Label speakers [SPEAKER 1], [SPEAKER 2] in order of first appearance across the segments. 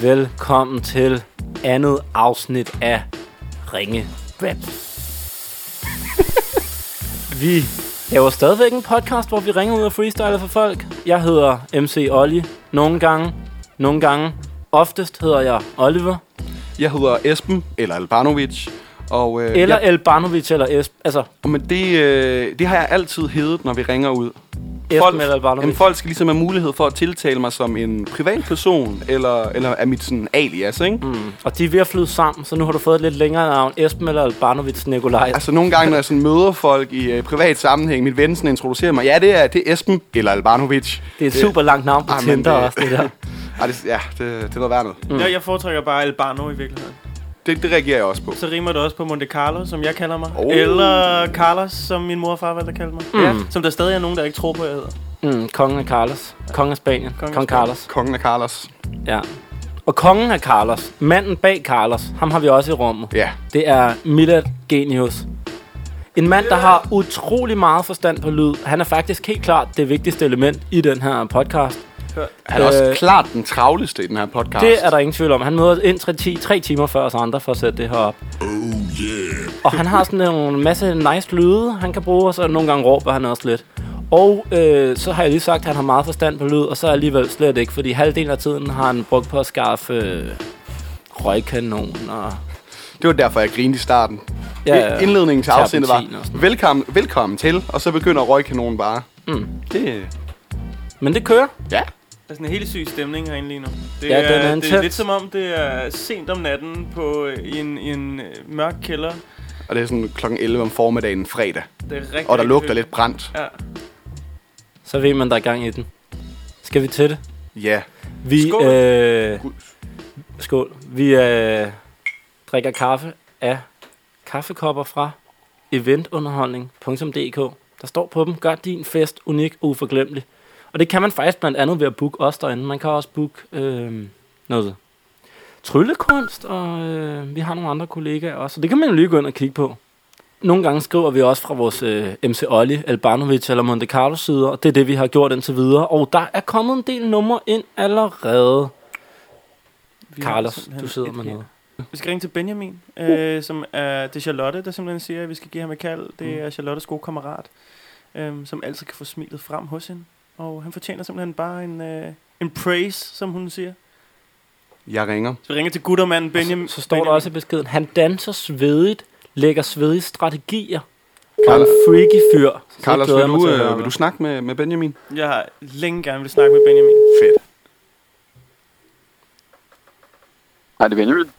[SPEAKER 1] Velkommen til andet afsnit af Ringe Rap. vi laver stadigvæk en podcast, hvor vi ringer ud og freestyler for folk. Jeg hedder MC Olli. Nogle gange, nogle gange. Oftest hedder jeg Oliver.
[SPEAKER 2] Jeg hedder Esben, eller Albanovic, og, øh,
[SPEAKER 1] Eller
[SPEAKER 2] jeg,
[SPEAKER 1] ja. Elbanovic eller Esb. Altså,
[SPEAKER 2] men det, øh, det har jeg altid heddet, når vi ringer ud.
[SPEAKER 1] Esben eller
[SPEAKER 2] jamen,
[SPEAKER 1] Elbanovic.
[SPEAKER 2] folk skal ligesom have mulighed for at tiltale mig som en privatperson, eller, eller er mit sådan alias, ikke? Mm.
[SPEAKER 1] Mm. Og de er ved at flyde sammen, så nu har du fået et lidt længere navn. Esben eller Albanovic Nikolaj.
[SPEAKER 2] Altså nogle gange, når jeg sådan møder folk i øh, privat sammenhæng, mit ven sådan introducerer mig, ja, det er, det er Esben, eller Albanovic.
[SPEAKER 1] Det er et super langt navn på
[SPEAKER 2] Ej, men
[SPEAKER 1] Tinder
[SPEAKER 2] det-
[SPEAKER 1] også, det der.
[SPEAKER 2] Ej, det, ja, det, det er noget værd noget.
[SPEAKER 3] Mm. Jeg, jeg foretrækker bare Albano i virkeligheden.
[SPEAKER 2] Det, det reagerer jeg også på.
[SPEAKER 3] Så rimer det også på Monte Carlo, som jeg kalder mig.
[SPEAKER 2] Oh.
[SPEAKER 3] Oh. Eller Carlos, som min mor og far valgte at kalde mig. Mm. Som der stadig er nogen, der ikke tror på, jeg hedder.
[SPEAKER 1] Mm, kongen af Carlos. Kongen af Spanien.
[SPEAKER 3] Kongen
[SPEAKER 1] Kong,
[SPEAKER 3] af
[SPEAKER 1] Kong
[SPEAKER 3] Spanien.
[SPEAKER 1] Carlos.
[SPEAKER 2] Kongen af Carlos.
[SPEAKER 1] Ja. Og kongen af Carlos, manden bag Carlos, ham har vi også i rummet.
[SPEAKER 2] Ja.
[SPEAKER 1] Det er Milad Genius. En mand, der har utrolig meget forstand på lyd. Han er faktisk helt klart det vigtigste element i den her podcast.
[SPEAKER 2] Han er øh, også
[SPEAKER 1] Øh,
[SPEAKER 2] klart den travleste i den her podcast.
[SPEAKER 1] Det er der ingen tvivl om. Han møder ind tre, ti, tre timer før os andre for at sætte det her op. Oh yeah. Og han har sådan en masse nice lyde, han kan bruge, og så nogle gange råber han også lidt. Og øh, så har jeg lige sagt, at han har meget forstand på lyd, og så alligevel slet ikke, fordi halvdelen af tiden har han brugt på at skaffe øh, røgkanon og...
[SPEAKER 2] Det var derfor, jeg grinede i starten.
[SPEAKER 1] Ja,
[SPEAKER 2] Ja,
[SPEAKER 1] ja.
[SPEAKER 2] Indledningen til afsnittet var,
[SPEAKER 1] Terpentin og sådan
[SPEAKER 2] velkommen, velkommen til, og så begynder røgkanonen bare. Mm. Det,
[SPEAKER 1] Men det kører.
[SPEAKER 2] ja.
[SPEAKER 3] Der er sådan en helt syg stemning herinde lige nu. Det
[SPEAKER 1] Ja, den er
[SPEAKER 3] er, det er
[SPEAKER 1] intens.
[SPEAKER 3] lidt som om, det er sent om natten på øh, i en, i en øh, mørk kælder.
[SPEAKER 2] Og det er sådan klokken 11 om formiddagen fredag,
[SPEAKER 3] Det er rigtig,
[SPEAKER 2] og der
[SPEAKER 3] rigtig
[SPEAKER 2] lugter
[SPEAKER 3] højt.
[SPEAKER 2] lidt brændt.
[SPEAKER 3] Ja.
[SPEAKER 1] Så ved man, der er gang i den. Skal vi til det?
[SPEAKER 2] Ja.
[SPEAKER 1] Vi,
[SPEAKER 3] Skål.
[SPEAKER 1] Øh,
[SPEAKER 2] Gud.
[SPEAKER 1] skål. Vi øh, drikker kaffe af kaffekopper fra eventunderholdning.dk. Der står på dem, gør din fest unik og uforglemmelig. Og det kan man faktisk blandt andet ved at booke os derinde. Man kan også booke øh, noget tryllekunst, og øh, vi har nogle andre kollegaer også. Så det kan man jo lige gå ind og kigge på. Nogle gange skriver vi også fra vores øh, MC Olli, Albanovic eller Monte Carlo sider, og det er det, vi har gjort indtil videre. Og der er kommet en del numre ind allerede.
[SPEAKER 3] Vi har
[SPEAKER 1] Carlos,
[SPEAKER 3] simpelthen
[SPEAKER 1] du sidder
[SPEAKER 3] et
[SPEAKER 1] med
[SPEAKER 3] her.
[SPEAKER 1] noget.
[SPEAKER 3] Vi skal ringe til Benjamin,
[SPEAKER 1] Uh.
[SPEAKER 3] øh, som er, det er Charlotte, der simpelthen siger, at vi skal give ham et kald. Det
[SPEAKER 1] Mm.
[SPEAKER 3] er Charlottes gode kammerat, øh, som altid kan få smilet frem hos hende. Og han fortjener simpelthen bare en, øh, en praise, som hun siger.
[SPEAKER 2] Jeg ringer.
[SPEAKER 3] Så vi ringer til guttermanden Benjamin.
[SPEAKER 1] Så står der
[SPEAKER 3] Benjamin.
[SPEAKER 1] også i beskeden, han danser svedigt, lægger svedige strategier. Og en
[SPEAKER 2] Carlos,
[SPEAKER 1] freaky fyr. Så
[SPEAKER 2] Carlos
[SPEAKER 1] glæder
[SPEAKER 2] vil,
[SPEAKER 1] jeg mig
[SPEAKER 2] du,
[SPEAKER 1] til at høre
[SPEAKER 2] øh, vil du
[SPEAKER 1] det.
[SPEAKER 2] snakke med, med Benjamin?
[SPEAKER 3] Jeg har længe gerne vil snakke med Benjamin.
[SPEAKER 2] Fedt.
[SPEAKER 4] Hej, det er Benjamin.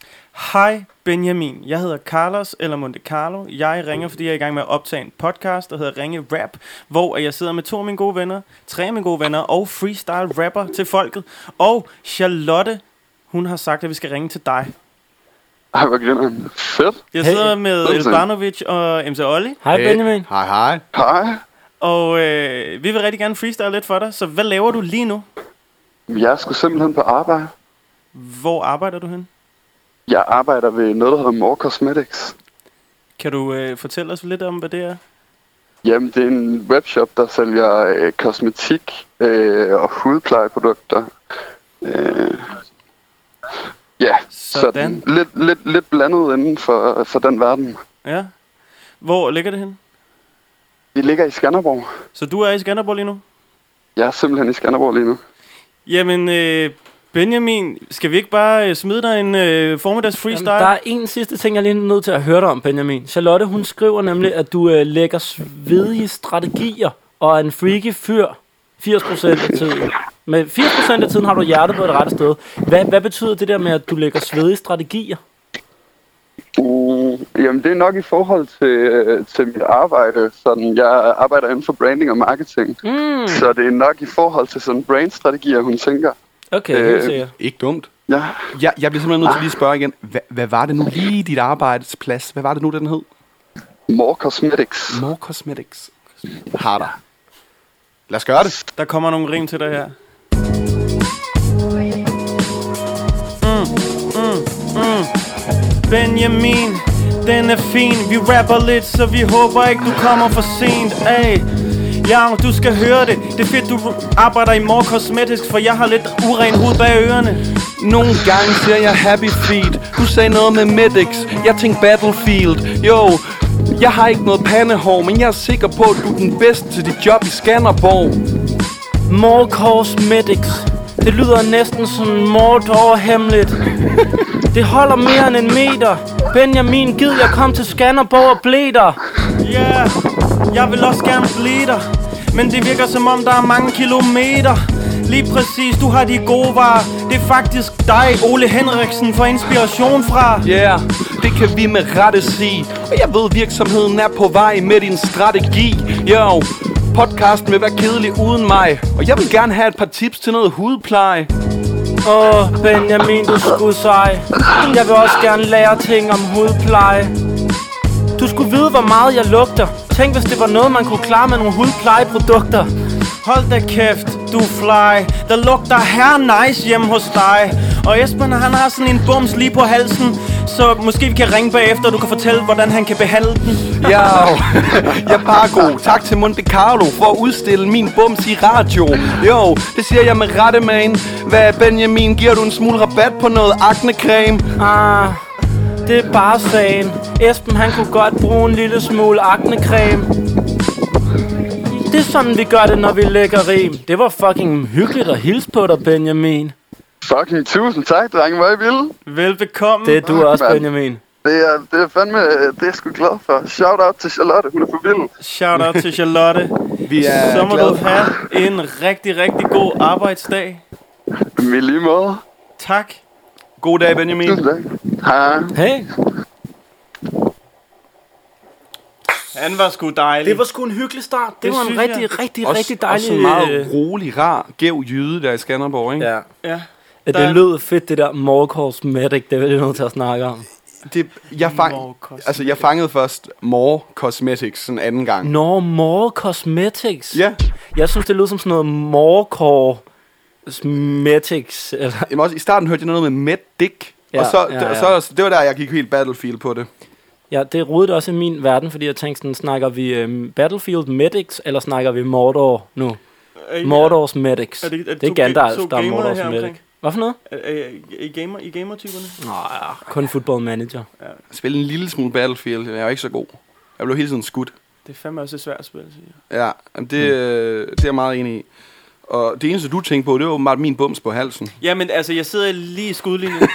[SPEAKER 3] Hej Benjamin, jeg hedder Carlos eller Monte Carlo. Jeg ringer, fordi jeg er i gang med at optage en podcast, der hedder Ringe Rap, hvor jeg sidder med to af mine gode venner, tre af mine gode venner og freestyle rapper til folket. Og Charlotte, hun har sagt, at vi skal ringe til dig.
[SPEAKER 4] Hej, hvor grineren. Fedt.
[SPEAKER 3] Jeg
[SPEAKER 1] Hey.
[SPEAKER 3] sidder med
[SPEAKER 4] Sådan.
[SPEAKER 3] Elbanovic og MC Olli,
[SPEAKER 1] Hej
[SPEAKER 2] Hey.
[SPEAKER 1] Benjamin.
[SPEAKER 2] Hej, hej.
[SPEAKER 4] Hej.
[SPEAKER 3] og øh, vi vil rigtig gerne freestyle lidt for dig. Så hvad laver du lige nu?
[SPEAKER 4] Jeg skulle simpelthen på arbejde.
[SPEAKER 3] Hvor arbejder du hen?
[SPEAKER 4] Jeg arbejder ved noget, der hedder More Cosmetics.
[SPEAKER 3] Kan du øh, fortælle os lidt om, hvad det er?
[SPEAKER 4] Jamen, det er en webshop, der sælger øh, kosmetik øh, og hudplejeprodukter. Øh, ja,
[SPEAKER 3] Sådan.
[SPEAKER 4] sådan lidt, lidt, lidt blandet inden for, for den verden.
[SPEAKER 3] Ja. Hvor ligger det hen?
[SPEAKER 4] Vi ligger i Skanderborg.
[SPEAKER 3] Så du er i Skanderborg lige nu?
[SPEAKER 4] Jeg er simpelthen i Skanderborg lige nu.
[SPEAKER 3] Jamen, øh, Benjamin, skal vi ikke bare øh, smide dig en øh, formiddags
[SPEAKER 1] Jamen,
[SPEAKER 3] freestyle?
[SPEAKER 1] der er en sidste ting, jeg lige er nødt til at høre dig om, Benjamin. Charlotte, hun skriver nemlig, at du øh, lægger svedige strategier og er en freaky fyr 80% af tiden. Med 80% af tiden har du hjertet på det rette sted. Hvad, hvad betyder det der med, at du lægger svedige strategier?
[SPEAKER 4] Uh, jamen, det er nok i forhold til, øh, til mit arbejde. Sådan, jeg arbejder inden for branding og marketing. Mm. Så det er nok i forhold til sådan brandstrategier, hun tænker.
[SPEAKER 1] Okay, øh, helt
[SPEAKER 4] Øh,
[SPEAKER 1] sikkert.
[SPEAKER 2] Ikke dumt.
[SPEAKER 4] Ja,
[SPEAKER 2] Jeg, jeg bliver simpelthen nødt til lige at spørge igen. Hva, hvad var det nu lige dit arbejdsplads? Hvad var det nu, den hed?
[SPEAKER 4] More Cosmetics.
[SPEAKER 2] More Cosmetics. Har der. Lad os gøre det.
[SPEAKER 3] der kommer nogle rim til dig her. Benjamin, den er fin Vi rapper lidt, så vi håber ikke du kommer for sent Ay. Ja, og du skal høre det. Det er fedt, du arbejder i More Cosmetics, for jeg har lidt uren hud bag ørerne.
[SPEAKER 2] Nogle gange siger jeg Happy Feet. Du sagde noget med Medics. Jeg tænkte Battlefield. Jo, jeg har ikke noget pandehår, men jeg er sikker på, at du er den bedste til dit job i Skanderborg.
[SPEAKER 1] More Cosmetics. Det lyder næsten som Mordor hemmeligt. Det holder mere end en meter. Benjamin, gid jeg kom til Skanderborg og blev der.
[SPEAKER 3] Ja, yeah, jeg vil også gerne blive der. Men det virker som om, der er mange kilometer. Lige præcis, du har de gode varer. Det er faktisk dig, Ole Henriksen, for inspiration fra.
[SPEAKER 2] Ja, yeah, det kan vi med rette sige. Og jeg ved, virksomheden er på vej med din strategi. Jo, podcasten vil være kedelig uden mig. Og jeg vil gerne have et par tips til noget hudpleje.
[SPEAKER 1] Åh, oh, Benjamin, du skulle sej. Jeg vil også gerne lære ting om hudpleje. Du skulle vide, hvor meget jeg lugter. Tænk, hvis det var noget, man kunne klare med nogle hudplejeprodukter.
[SPEAKER 3] Hold da kæft, du fly. Der lugter her nice hjemme hos dig. Og Esben, han har sådan en bums lige på halsen. Så måske vi kan ringe bagefter, og du kan fortælle, hvordan han kan behandle den.
[SPEAKER 2] Ja, jeg er bare god. Tak til Monte Carlo for at udstille min bums i radio. Jo, det siger jeg med rette, man. Hvad, Benjamin, giver du en smule rabat på noget aknecreme?
[SPEAKER 1] Ah, det er bare sagen. Esben, han kunne godt bruge en lille smule aknecreme. Det er sådan, vi gør det, når vi lægger rim. Det var fucking hyggeligt at hilse på dig, Benjamin.
[SPEAKER 4] Fucking tusind tak, drenge. Hvor er I vilde?
[SPEAKER 3] Velbekomme.
[SPEAKER 1] Det er du også,
[SPEAKER 4] mand.
[SPEAKER 1] Benjamin.
[SPEAKER 4] Det er, det er fandme, øh, det er jeg sgu glad for. Shout out til Charlotte, hun er for vild.
[SPEAKER 3] Shout out til Charlotte.
[SPEAKER 2] Vi er
[SPEAKER 3] så må
[SPEAKER 2] glade
[SPEAKER 3] du
[SPEAKER 2] for-
[SPEAKER 3] have en rigtig, rigtig god arbejdsdag.
[SPEAKER 4] Men i lige måde.
[SPEAKER 3] Tak.
[SPEAKER 2] God dag, Benjamin.
[SPEAKER 4] Tusind tak. Hej.
[SPEAKER 1] Hey,
[SPEAKER 3] Han var sgu dejlig.
[SPEAKER 1] det var sgu en hyggelig start. Det,
[SPEAKER 3] Det
[SPEAKER 1] det var en
[SPEAKER 3] synes
[SPEAKER 1] rigtig,
[SPEAKER 3] jeg.
[SPEAKER 1] jeg. rigtig,
[SPEAKER 2] Også,
[SPEAKER 1] rigtig dejlig...
[SPEAKER 2] også en
[SPEAKER 1] øh,
[SPEAKER 2] meget rolig, rar, gæv jyde der i Skanderborg, ikke?
[SPEAKER 1] Ja.
[SPEAKER 3] Ja.
[SPEAKER 1] Det
[SPEAKER 3] Der-
[SPEAKER 1] der... lød fedt, det der More Cosmetic, det er vi nødt til at snakke om.
[SPEAKER 2] Det, jeg,
[SPEAKER 3] More
[SPEAKER 2] fang,
[SPEAKER 3] Cosmetics.
[SPEAKER 2] altså, jeg fangede først More Cosmetics sådan anden gang.
[SPEAKER 1] Nå, More Cosmetics.
[SPEAKER 2] Ja,
[SPEAKER 1] Jeg synes, det lød som sådan noget More Cosmetics. Eller...
[SPEAKER 2] Jamen også, i starten hørte jeg noget med Med Dick. Ja,
[SPEAKER 1] Ja,
[SPEAKER 2] og så,
[SPEAKER 1] ja,
[SPEAKER 2] ja,
[SPEAKER 1] ja.
[SPEAKER 2] ja. så, det var der, jeg gik helt Battlefield på det.
[SPEAKER 1] Ja, det rodede også i min verden, fordi jeg tænkte sådan, snakker vi øhm, Battlefield Medics, eller snakker vi Mordor nu?
[SPEAKER 3] Øh,
[SPEAKER 1] Mordors Medics.
[SPEAKER 3] Er det- er det
[SPEAKER 1] det er
[SPEAKER 3] to ga-
[SPEAKER 1] Gandalf,
[SPEAKER 3] to
[SPEAKER 1] der er
[SPEAKER 3] gamere
[SPEAKER 1] Mordors
[SPEAKER 3] her
[SPEAKER 1] Medic.
[SPEAKER 3] omkring?
[SPEAKER 1] Hvad for noget?
[SPEAKER 3] Er, er, er, gamer, I gamer-typerne?
[SPEAKER 1] Nå, ja, kun football manager.
[SPEAKER 2] Spille en lille smule Battlefield, jeg er jo ikke så god. Jeg blev hele tiden skudt.
[SPEAKER 3] Det er fandme også et svært spil, siger jeg.
[SPEAKER 2] Ja, jamen det, mm. øh, det er jeg meget enig i. Og det eneste, du tænkte på, det var åbenbart min bums på halsen.
[SPEAKER 3] Jamen, altså, jeg sidder lige i skudlinjen.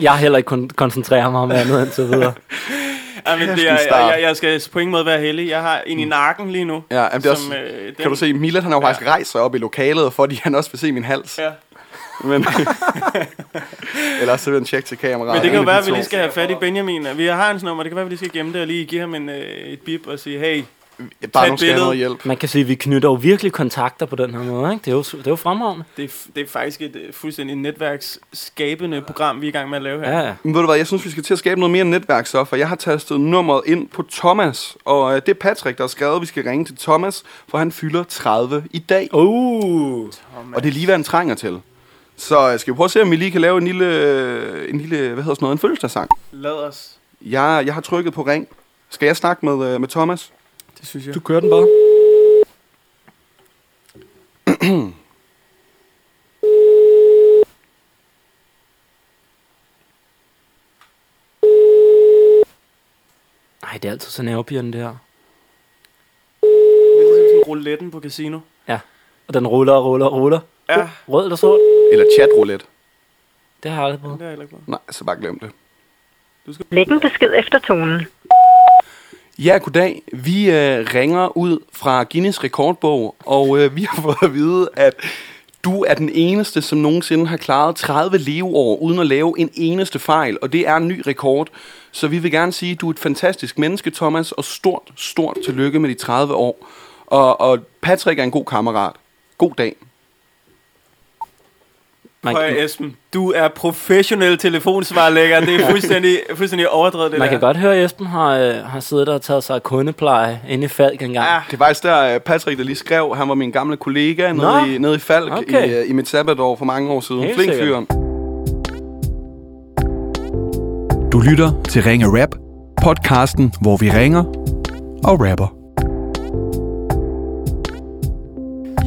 [SPEAKER 1] Jeg har heller ikke kun koncentrere mig om andet end så videre.
[SPEAKER 3] Jamen, det er,
[SPEAKER 2] en start.
[SPEAKER 3] jeg, jeg, jeg skal på ingen måde være heldig. Jeg har en i nakken lige nu.
[SPEAKER 2] Ja, jamen det er også,
[SPEAKER 3] øh, den-
[SPEAKER 2] kan du se, Milan han har jo ja. faktisk rejst sig op i lokalet, fordi han også vil se min hals. Ja.
[SPEAKER 3] Ja.
[SPEAKER 2] Men, ellers så vil han tjekke til kameraet.
[SPEAKER 3] Men det kan jo
[SPEAKER 2] En af
[SPEAKER 3] være,
[SPEAKER 2] de
[SPEAKER 3] at vi
[SPEAKER 2] to.
[SPEAKER 3] lige skal have fat i Benjamin. Vi har hans nummer. Det kan være, at vi lige skal gemme det og lige give ham en, øh, et bip og sige, hey,
[SPEAKER 2] Bare
[SPEAKER 3] et
[SPEAKER 2] nu skal jeg have
[SPEAKER 3] billede.
[SPEAKER 2] noget hjælp.
[SPEAKER 1] Man kan sige, at vi knytter jo virkelig kontakter på den her måde. Ikke? Det, er jo, det er jo fremragende.
[SPEAKER 3] det er, f- det er faktisk et øh, fuldstændig netværksskabende program, vi er i gang med at lave her.
[SPEAKER 1] Ja, ja.
[SPEAKER 2] Men ved du hvad, jeg synes, vi skal til at skabe noget mere netværk så, for jeg har tastet nummeret ind på Thomas, og øh, det er Patrick, der har skrevet, at vi skal ringe til Thomas, for han fylder 30 i dag,
[SPEAKER 1] Uh.
[SPEAKER 2] og det er lige, hvad han trænger til. Så øh, skal vi prøve at se, om vi lige kan lave en lille, øh, en lille hvad hedder sådan noget, en fødselsdagssang.
[SPEAKER 3] Lad os.
[SPEAKER 2] Jeg, jeg har trykket på ring. Skal jeg snakke med, øh, med Thomas?
[SPEAKER 3] Det synes jeg.
[SPEAKER 1] Du kører den bare. Ej, det er altid så nervepirrende det her.
[SPEAKER 3] Det er ligesom sådan rouletten på casino.
[SPEAKER 1] Ja. Og den ruller og ruller og ruller.
[SPEAKER 3] Ja,
[SPEAKER 1] Rød eller sort?
[SPEAKER 2] Eller chatroulette?
[SPEAKER 1] Det har jeg aldrig prøvet.
[SPEAKER 3] det er heller ikke noget.
[SPEAKER 2] Nej, så bare glem det.
[SPEAKER 5] Læg en besked efter tonen.
[SPEAKER 2] Ja, goddag. Vi øh, ringer ud fra Guinness rekordbog, og øh, vi har fået at vide, at du er den eneste, som nogensinde har klaret 30 leveår uden at lave en eneste fejl, og det er en ny rekord. Så vi vil gerne sige, at du er et fantastisk menneske, Thomas, og stort, stort tillykke med de 30 år. Og, og Patrick er en god kammerat. God dag.
[SPEAKER 1] Man,
[SPEAKER 3] Prøv at, Esben, du er professionel telefonsvarlægger. Det er fuldstændig, fuldstændig overdrevet, det
[SPEAKER 1] man
[SPEAKER 3] der.
[SPEAKER 1] kan godt høre, at Esben har, øh, har siddet der og taget sig af kundepleje inde i Falk engang.
[SPEAKER 3] Ah,
[SPEAKER 1] Ah.
[SPEAKER 2] Det var faktisk der, øh, Patrick der lige skrev, han var min gamle kollega
[SPEAKER 1] Nå.
[SPEAKER 2] nede i, nede i Falk okay.
[SPEAKER 1] Okay.
[SPEAKER 2] i, øh, i mit sabbatår for mange år siden.
[SPEAKER 1] Helt
[SPEAKER 2] Flink
[SPEAKER 1] sikkert.
[SPEAKER 2] fyren.
[SPEAKER 6] Du lytter til Ringe Rap, podcasten, hvor vi ringer og rapper.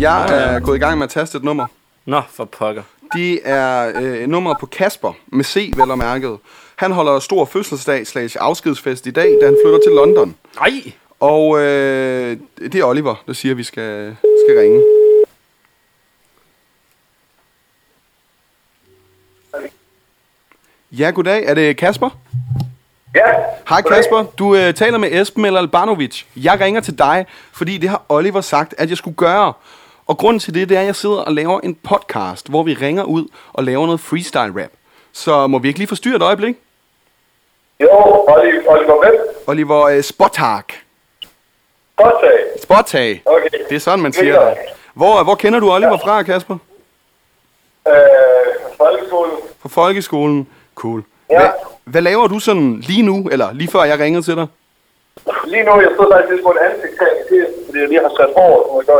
[SPEAKER 2] Jeg er gået i gang med at taste et nummer.
[SPEAKER 1] Nå, for pokker.
[SPEAKER 2] Det er øh, nummeret på Kasper, med C vel og mærket. Han holder stor fødselsdag slash afskedsfest i dag, da han flytter til London.
[SPEAKER 1] Nej!
[SPEAKER 2] Og øh, det er Oliver, der siger, at vi skal, skal ringe. Ja, goddag. Er det Kasper?
[SPEAKER 7] Ja,
[SPEAKER 2] Hej Kasper, du øh, taler med Esben eller Albanovic. Jeg ringer til dig, fordi det har Oliver sagt, at jeg skulle gøre. Og grunden til det, det er, at jeg sidder og laver en podcast, hvor vi ringer ud og laver noget freestyle rap. Så må vi ikke lige forstyrre et øjeblik?
[SPEAKER 7] jo, Oliver, Oliver hvem?
[SPEAKER 2] Oliver øh, Spotag.
[SPEAKER 7] Godt sag.
[SPEAKER 2] Spotag.
[SPEAKER 7] Okay.
[SPEAKER 2] Det er sådan, man siger det. Hvor, hvor kender du Oliver fra, Kasper?
[SPEAKER 7] Øh, folkeskolen.
[SPEAKER 2] Fra folkeskolen. Cool.
[SPEAKER 7] Ja.
[SPEAKER 2] Hvad, hvad laver du sådan lige nu, eller lige før jeg ringede til dig?
[SPEAKER 7] Lige nu, jeg sidder faktisk lidt på en ansigtstag i tiden, fordi jeg lige har sat over, så jeg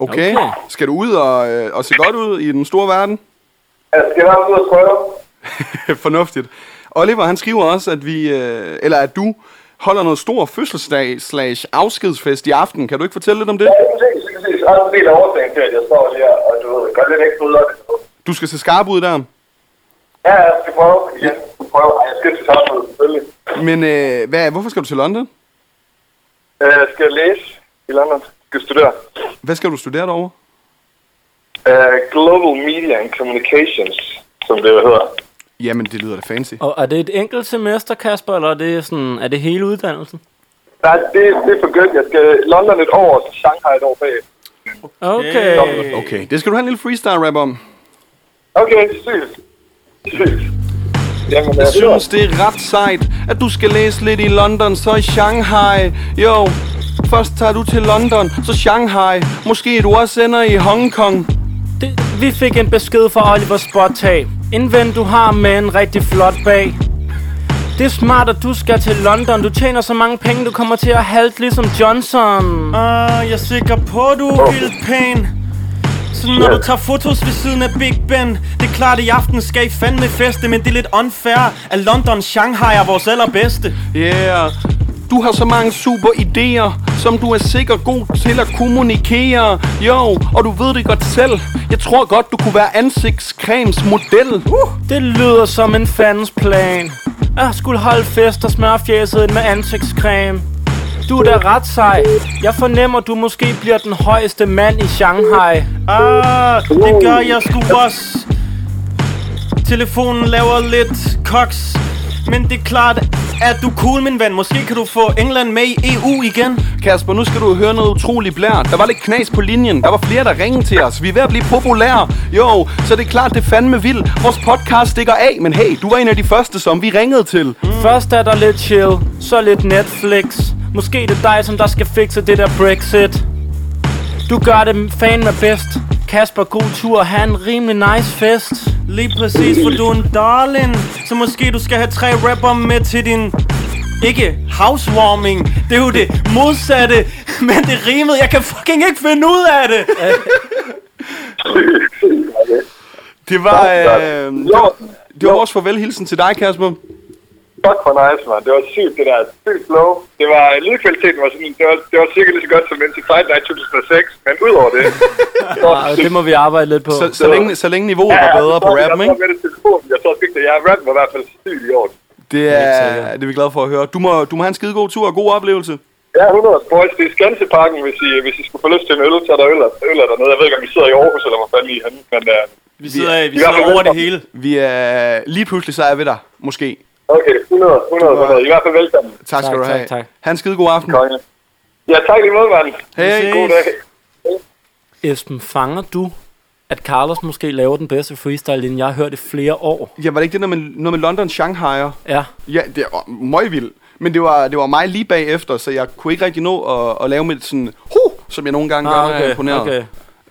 [SPEAKER 2] Okay.
[SPEAKER 1] Okay.
[SPEAKER 2] okay. Skal du ud og, øh, og se godt ud i den store verden?
[SPEAKER 7] Jeg Altså, skal nok ud og prøve.
[SPEAKER 2] Fornuftigt. Oliver, han skriver også, at vi, øh, eller at du holder noget stor fødselsdag slash afskedsfest i aften. Kan du ikke fortælle lidt om det?
[SPEAKER 7] Ja, præcis, præcis. Og en del af årsagen til, at jeg står her, og du ved, gør lidt ekstra ud af det.
[SPEAKER 2] Du skal se skarp ud der.
[SPEAKER 7] Ja, jeg skal prøve igen. Jeg skal prøve. Ej, jeg skal til samfundet, selvfølgelig.
[SPEAKER 2] Men øh, hvad, hvorfor skal du til London?
[SPEAKER 7] Øh, Jeg skal læse i London. Jeg skal studere.
[SPEAKER 2] Hvad skal du studere derovre?
[SPEAKER 7] Øh, Global Media and Communications, som det jo hedder.
[SPEAKER 2] Jamen, det lyder da fancy.
[SPEAKER 1] Og er det et enkelt semester, Kasper, eller er det, sådan, er det hele uddannelsen?
[SPEAKER 7] Nej, det, det er for gødt. Jeg skal London et år, og så Shanghai et år bag.
[SPEAKER 1] Okay.
[SPEAKER 3] Hey.
[SPEAKER 2] Okay, det skal du have en lille freestyle rap om.
[SPEAKER 7] Okay, sygt. Sygt. Jamen,
[SPEAKER 2] Jeg
[SPEAKER 7] jeg
[SPEAKER 2] synes, det er ret sejt, at du skal læse lidt i London, så i Shanghai. Jo, først tager du til London, så Shanghai. Måske du også ender i Hongkong.
[SPEAKER 1] Det, vi fik en besked fra Oliver Spottag. En ven du har med en rigtig flot bag. Det er smart, at du skal til London. Du tjener så mange penge, du kommer til at halte ligesom Johnson.
[SPEAKER 3] Ah, jeg er sikker på, du er vildt pæn. Så når du tager fotos ved siden af Big Ben Det er klart, i aften skal I fandme feste Men det er lidt unfair, at London Shanghai er vores allerbedste
[SPEAKER 2] Yeah. Du har så mange super idéer, som du er sikkert god til at kommunikere. Jo, og du ved det godt selv. Jeg tror godt, du kunne være ansigtscremes model. Uh.
[SPEAKER 1] Det lyder som en fandens plan. Jeg skulle holde fest og smøre fjæset ind med ansigtscreme. Du er da ret sej. Jeg fornemmer, du måske bliver den højeste mand i Shanghai.
[SPEAKER 3] Ah, det gør jeg sgu også Telefonen laver lidt koks Men det er klart, at du er cool, min ven Måske kan du få England med i
[SPEAKER 1] E
[SPEAKER 3] EU igen
[SPEAKER 2] Kasper, nu skal du høre noget utroligt blært. Der var lidt knas på linjen. Der var flere, der ringede til os. Vi er ved at blive populære. Jo, så det er klart, det er fandme vildt. Vores podcast stikker af, men hey, du var en af de første, som vi ringede til.
[SPEAKER 1] Først er der lidt chill, så lidt Netflix. Måske det er dig, som der skal fikse det der Brexit. Du gør det fandme bedst. Kasper, god tur. Ha' en rimelig nice fest.
[SPEAKER 3] Lige præcis, for du er en darling Så måske du skal have tre rapper med til din ikke housewarming Det er jo det modsatte Men det rimede, jeg kan fucking ikke finde ud af det
[SPEAKER 2] Det var, øh, det var, det var
[SPEAKER 7] Jo.
[SPEAKER 2] vores farvelhilsen til dig, Kasper.
[SPEAKER 7] Fuck for nice, man. Det var sygt, det der. Sygt flow. Det var, lydkvaliteten var sådan, det var, det var cirka lige så godt som indtil Fight Night 2006, men udover det... så,
[SPEAKER 1] Og det må vi arbejde lidt på.
[SPEAKER 2] Så, så, længe, så lenge niveauet var bedre på rappen, ikke?
[SPEAKER 7] Jeg tror med det telefon. Jeg tror ikke, at jeg rappen var i hvert fald sygt i år.
[SPEAKER 2] Det er, det er vi glade for at høre. Du må, du må have en skide god tur og god oplevelse.
[SPEAKER 7] Ja, 100 boys. Det er Skanseparken, hvis I, hvis I skulle få lyst til en øl, så er der øl, øl er dernede. Jeg ved ikke, om I sidder i Aarhus, eller hvor fanden I er henne, men uh,
[SPEAKER 3] Vi sidder, vi
[SPEAKER 7] i hvert
[SPEAKER 3] sidder
[SPEAKER 7] fald
[SPEAKER 3] over det
[SPEAKER 7] velkommen.
[SPEAKER 3] hele
[SPEAKER 2] Vi er lige pludselig så er vi der, måske.
[SPEAKER 7] okay, 100, 100, 100. I hvert fald velkommen.
[SPEAKER 2] Tak skal
[SPEAKER 1] Tak,
[SPEAKER 2] du
[SPEAKER 1] tak,
[SPEAKER 2] have.
[SPEAKER 1] tak.
[SPEAKER 2] Ha' en skide god aften.
[SPEAKER 7] Konge. Ja, tak lige måde, mand.
[SPEAKER 2] Hej.
[SPEAKER 7] God dag.
[SPEAKER 1] Esben, fanger du, at Carlos måske laver den bedste freestyle, end jeg har hørt i flere år?
[SPEAKER 2] Ja, var det ikke det noget med, noget med London Shanghai'er?
[SPEAKER 1] Ja.
[SPEAKER 2] Ja, det var møgvildt. Men det var, det var mig lige bagefter, så jeg kunne ikke rigtig nå at, at lave mit sådan, huh, som jeg nogle gange ah, gør, når jeg er imponeret.
[SPEAKER 1] okay.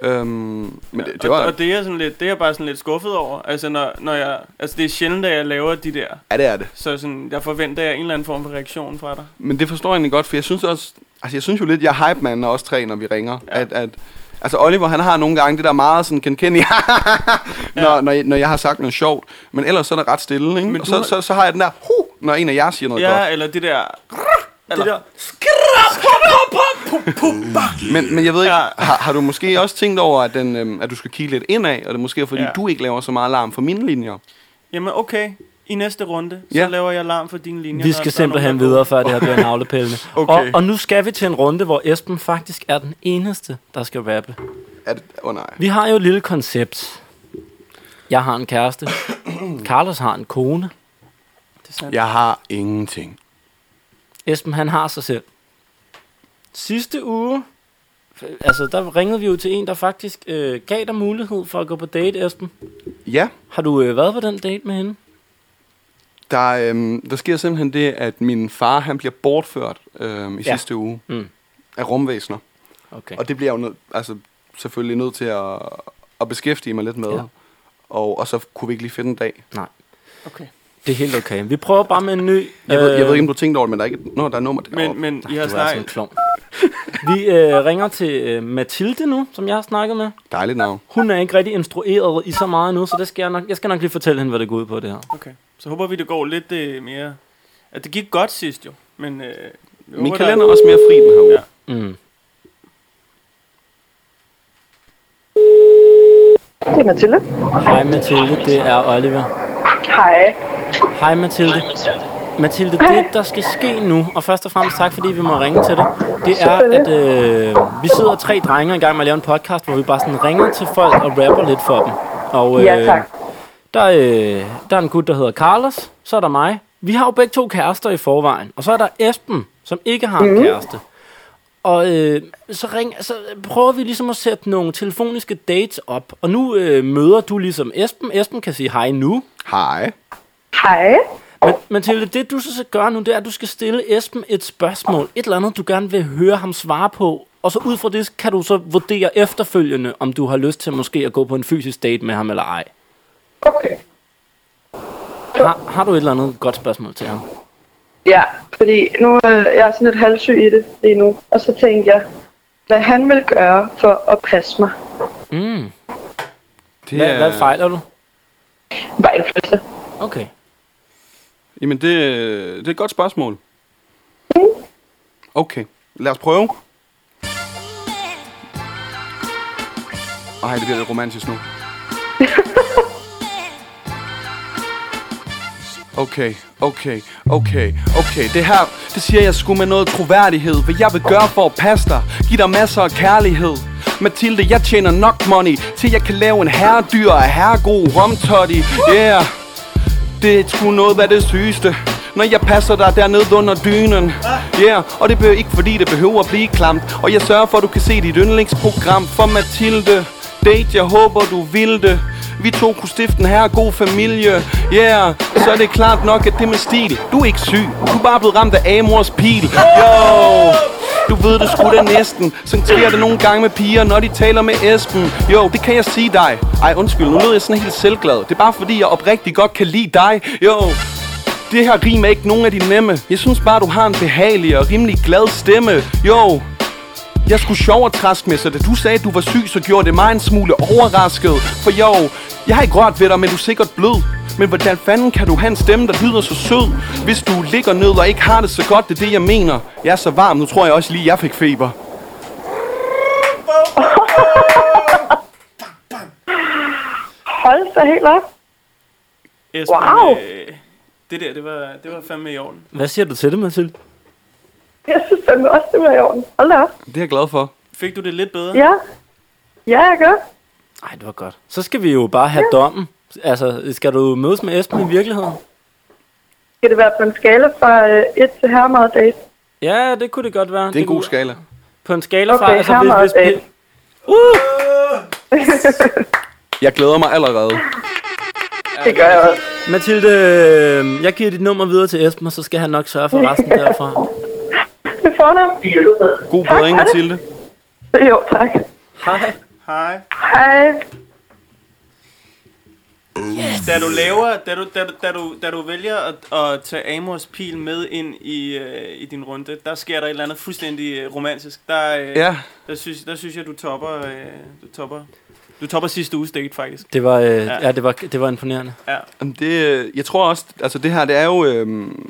[SPEAKER 2] Øhm, men det, det
[SPEAKER 3] og,
[SPEAKER 2] var,
[SPEAKER 3] og, det er jeg sådan lidt, det er jeg bare sådan lidt skuffet over Altså når, når jeg, altså det er sjældent, at jeg laver de der
[SPEAKER 2] ja, det er det.
[SPEAKER 3] Så sådan, jeg forventer jeg en eller anden form for reaktion fra dig
[SPEAKER 2] Men det forstår jeg egentlig godt, for jeg synes også, altså jeg synes jo lidt, jeg er hype man og også tre, når vi ringer. Ja. At, at, altså Oliver, han har nogle gange det der meget sådan, kan kende, når, ja. når, jeg- når jeg har sagt noget sjovt. Men ellers så er der ret stille, ikke?
[SPEAKER 3] Men
[SPEAKER 2] og
[SPEAKER 3] du
[SPEAKER 2] så,
[SPEAKER 3] har-
[SPEAKER 2] så, så, har jeg den der, huh, når en af jer siger noget
[SPEAKER 3] Ja,
[SPEAKER 2] godt.
[SPEAKER 3] eller det der eller,
[SPEAKER 1] der-
[SPEAKER 2] Men, men jeg ved ikke,
[SPEAKER 3] Ja.
[SPEAKER 2] har, har du måske også tænkt over, at, den, øhm, at du skal kigge lidt indad, og det er måske er, fordi
[SPEAKER 3] Ja.
[SPEAKER 2] ja. du ikke laver så meget alarm for mine linjer?
[SPEAKER 3] Jamen okay, i næste runde, så
[SPEAKER 2] Ja.
[SPEAKER 3] laver jeg larm for dine linjer.
[SPEAKER 1] Vi
[SPEAKER 3] når der
[SPEAKER 1] skal
[SPEAKER 3] er
[SPEAKER 1] simpelthen
[SPEAKER 3] nogen, der er
[SPEAKER 1] videre, før det her bliver en aflepillende.
[SPEAKER 2] Okay.
[SPEAKER 1] og, og nu skal vi til en runde, hvor Esben faktisk er den eneste, der skal rappe.
[SPEAKER 2] Er det, oh, nej.
[SPEAKER 1] Vi har jo et lille koncept. Jeg har en kæreste. Carlos har en kone.
[SPEAKER 3] på. Det er sandt.
[SPEAKER 2] Jeg har ingenting.
[SPEAKER 1] Esben, han har sig selv. Sidste uge, altså der ringede vi jo til en, der faktisk øh, gav dig mulighed for at gå på date, Esben.
[SPEAKER 2] Ja,
[SPEAKER 1] Har du øh, været på den date med hende?
[SPEAKER 2] der, øhm, der sker simpelthen det, at min far han bliver bortført øhm, i
[SPEAKER 1] Ja.
[SPEAKER 2] ja. sidste uge
[SPEAKER 1] Mm.
[SPEAKER 2] af rumvæsener.
[SPEAKER 1] Okay.
[SPEAKER 2] Og det bliver jeg jo nød, altså, selvfølgelig nødt til at, at beskæftige mig lidt med.
[SPEAKER 1] Ja.
[SPEAKER 2] Ja. Og, og så kunne vi ikke lige finde en dag.
[SPEAKER 3] Okay.
[SPEAKER 1] Det er helt okay. Vi prøver bare med en ny...
[SPEAKER 2] Jeg, ved, jeg ved ikke, om du tænkte over det, men der er ikke... Nå, der er nummer deroppe.
[SPEAKER 3] Øh. Men, men I
[SPEAKER 1] du
[SPEAKER 3] har
[SPEAKER 1] er sådan en
[SPEAKER 3] snakket...
[SPEAKER 1] klon. øh, Vi øh, ringer til øh, Mathilde nu, som jeg har snakket med.
[SPEAKER 2] Dejligt navn.
[SPEAKER 1] Hun er ikke rigtig instrueret i så meget nu, så det skal jeg, nok, jeg skal nok lige fortælle hende, hvad det går ud på det her.
[SPEAKER 3] Okay. Så håber vi, det går lidt øh, mere... At det gik godt sidst jo, men... Øh, jeg
[SPEAKER 2] Min
[SPEAKER 3] håber, der-
[SPEAKER 2] kalender er også mere fri den her uge.
[SPEAKER 3] Ja.
[SPEAKER 2] Ja.
[SPEAKER 1] Mm.
[SPEAKER 8] Det er Mathilde.
[SPEAKER 1] Hej Mathilde, det er Oliver.
[SPEAKER 8] Hej.
[SPEAKER 1] Hej Mathilde. Mathilde, det der skal ske nu, og først og fremmest tak, fordi vi må ringe til dig, det er, at øh, vi sidder tre drenge i gang med at lave en podcast, hvor vi bare sådan ringer til folk og rapper lidt for dem. Og, øh,
[SPEAKER 8] Ja, tak.
[SPEAKER 1] Der, øh, der er en gut, der hedder Carlos, så er der mig. Vi har jo begge to kærester i forvejen, og så er der Esben, som ikke har
[SPEAKER 8] Mhm.
[SPEAKER 1] en kæreste. Og øh, så, ring, så prøver vi ligesom at sætte nogle telefoniske dates op. Og nu øh, møder du ligesom Esben. Esben kan sige hej nu.
[SPEAKER 2] Hej.
[SPEAKER 8] Hej.
[SPEAKER 1] Men Mathilde, det du så skal gøre nu, det er, at du skal stille Esben et spørgsmål. Et eller andet, du gerne vil høre ham svare på. Og så ud fra det, kan du så vurdere efterfølgende, om du har lyst til måske at gå på en fysisk date med ham eller ej.
[SPEAKER 8] Okay.
[SPEAKER 1] Har, har du et eller andet godt spørgsmål til ham?
[SPEAKER 8] Ja, fordi nu øh, jeg er sådan lidt halvsyg i det lige nu. Og så tænkte jeg, hvad han vil gøre for at passe mig.
[SPEAKER 1] Mm.
[SPEAKER 2] Det
[SPEAKER 1] Hvad, hvad fejler du?
[SPEAKER 8] Bare indflydelse.
[SPEAKER 1] Okay.
[SPEAKER 2] Jamen, det, det er et godt spørgsmål. Okay, lad os prøve. Ej, det bliver lidt romantisk nu. Okay, okay, okay, okay. Det her, det siger jeg sgu med noget troværdighed. Hvad jeg vil gøre for at passe dig. Giv dig masser af kærlighed. Mathilde, jeg tjener nok money, til jeg kan lave en herredyr af herregod romtotti. Yeah. Det er sgu noget af det sygeste Når jeg passer dig dernede under dynen Yeah, og det er ikke fordi det behøver at blive klamt Og jeg sørger for at du kan se dit yndlingsprogram For Mathilde Date, jeg håber du vil det vi to kunne stifte en her god familie Yeah, så er det klart nok, at det med stil Du er ikke syg, du er bare blevet ramt af Amors pil Yo, du ved det sgu da næsten Sådan sker det nogle gange med piger, når de taler med Esben Jo, det kan jeg sige dig Ej, undskyld, nu lød jeg sådan helt selvglad Det er bare fordi, jeg oprigtigt godt kan lide dig Jo, det her rim er ikke nogen af de nemme Jeg synes bare, du har en behagelig og rimelig glad stemme Jo, jeg skulle sjov og træsk med, så da du sagde, at du var syg, så gjorde det mig en smule overrasket. For jo, jeg har ikke rørt ved dig, men du er sikkert blød. Men hvordan fanden kan du have en stemme, der lyder så sød? Hvis du ligger ned og ikke har det så godt, det er det, jeg mener. Jeg er så varm, nu tror jeg også lige, jeg fik feber.
[SPEAKER 8] Hold da helt op.
[SPEAKER 3] Esben,
[SPEAKER 8] Wow.
[SPEAKER 3] Øh, det der, det var, det var fandme i orden.
[SPEAKER 1] Hvad siger du til det, Mathilde?
[SPEAKER 8] Jeg synes fandme også, det var i orden. Hold da op.
[SPEAKER 2] Det er jeg glad for.
[SPEAKER 3] Fik du det lidt bedre?
[SPEAKER 8] Ja. Ja, jeg gør.
[SPEAKER 1] Nej, det var godt. Så skal vi jo bare have dommen. Altså, skal du mødes med Esben i virkeligheden?
[SPEAKER 8] Skal det være på en skala fra øh, 1 til her meget date?
[SPEAKER 1] Ja, det kunne det godt være.
[SPEAKER 2] Det er en god skala.
[SPEAKER 1] På en skala fra... altså,
[SPEAKER 8] Okay, her meget date.
[SPEAKER 2] Jeg glæder mig allerede.
[SPEAKER 8] Det gør jeg også.
[SPEAKER 1] Mathilde, øh, jeg giver dit nummer videre til Esben, og så skal han nok sørge for resten derfra.
[SPEAKER 8] Det er fornemt.
[SPEAKER 2] God bedring,
[SPEAKER 8] hej.
[SPEAKER 2] Mathilde.
[SPEAKER 8] Jo, tak.
[SPEAKER 1] Hej.
[SPEAKER 3] Hej.
[SPEAKER 8] Hej.
[SPEAKER 3] Da du laver, da du, da du, da du, da du vælger at, at tage Amors pil med ind i, øh, i din runde, der sker der et eller andet fuldstændig øh, romantisk. Der, øh,
[SPEAKER 2] Ja,
[SPEAKER 3] der, synes, der synes jeg, du topper, øh, du topper Du topper sidste uges date, faktisk.
[SPEAKER 1] Det var, øh, ja.
[SPEAKER 3] Ja.
[SPEAKER 1] ja, det var, det var imponerende.
[SPEAKER 3] Ja.
[SPEAKER 2] Jamen, Det, øh, jeg tror også, altså det her, det er jo øh,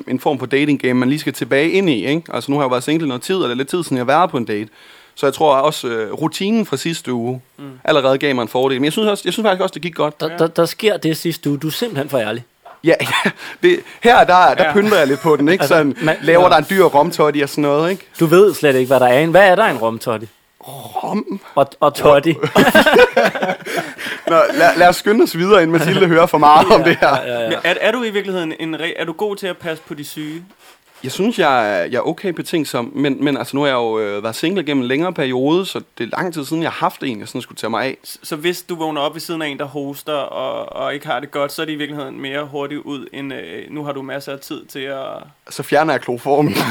[SPEAKER 2] en form for dating game, man lige skal tilbage ind i, ikke? Altså nu har jeg jo været single noget tid, og det er lidt tid siden, jeg har været på en date. Så jeg tror også, øh, rutinen fra sidste uge mm. allerede gav mig en fordel. Men jeg synes, også, jeg synes faktisk også, det gik godt.
[SPEAKER 1] Der, der, der sker det sidste uge. Du er simpelthen for ærlig.
[SPEAKER 2] Ja, ja det, her der, der ja.
[SPEAKER 3] Ja.
[SPEAKER 2] pynter jeg lidt på den, ikke?
[SPEAKER 1] Altså,
[SPEAKER 2] Sådan,
[SPEAKER 1] man-
[SPEAKER 2] laver der en dyr romtotti og sådan noget, ikke?
[SPEAKER 1] Du ved slet ikke, hvad der er i en. Hvad er der i en romtotti?
[SPEAKER 2] Rom?
[SPEAKER 1] Og, og totti.
[SPEAKER 2] Nå, lad, lad os skynde os videre, inden Mathilde hører for meget om det her.
[SPEAKER 1] ja, ja.
[SPEAKER 3] Ja. Er, er du i virkeligheden en re- er du god til at passe på de syge?
[SPEAKER 2] Jeg synes, jeg, er- jeg er okay betænksom, men, men altså, nu har jeg jo øh, været single gennem en længere periode, så det er lang tid siden, jeg har haft en, jeg sådan skulle tage mig af.
[SPEAKER 3] S- Så hvis du vågner op ved siden af en, der hoster og, og ikke har det godt, så er det i virkeligheden mere hurtigt ud, end øh, nu har du masser af tid til at...
[SPEAKER 2] Så fjerner jeg kloformen.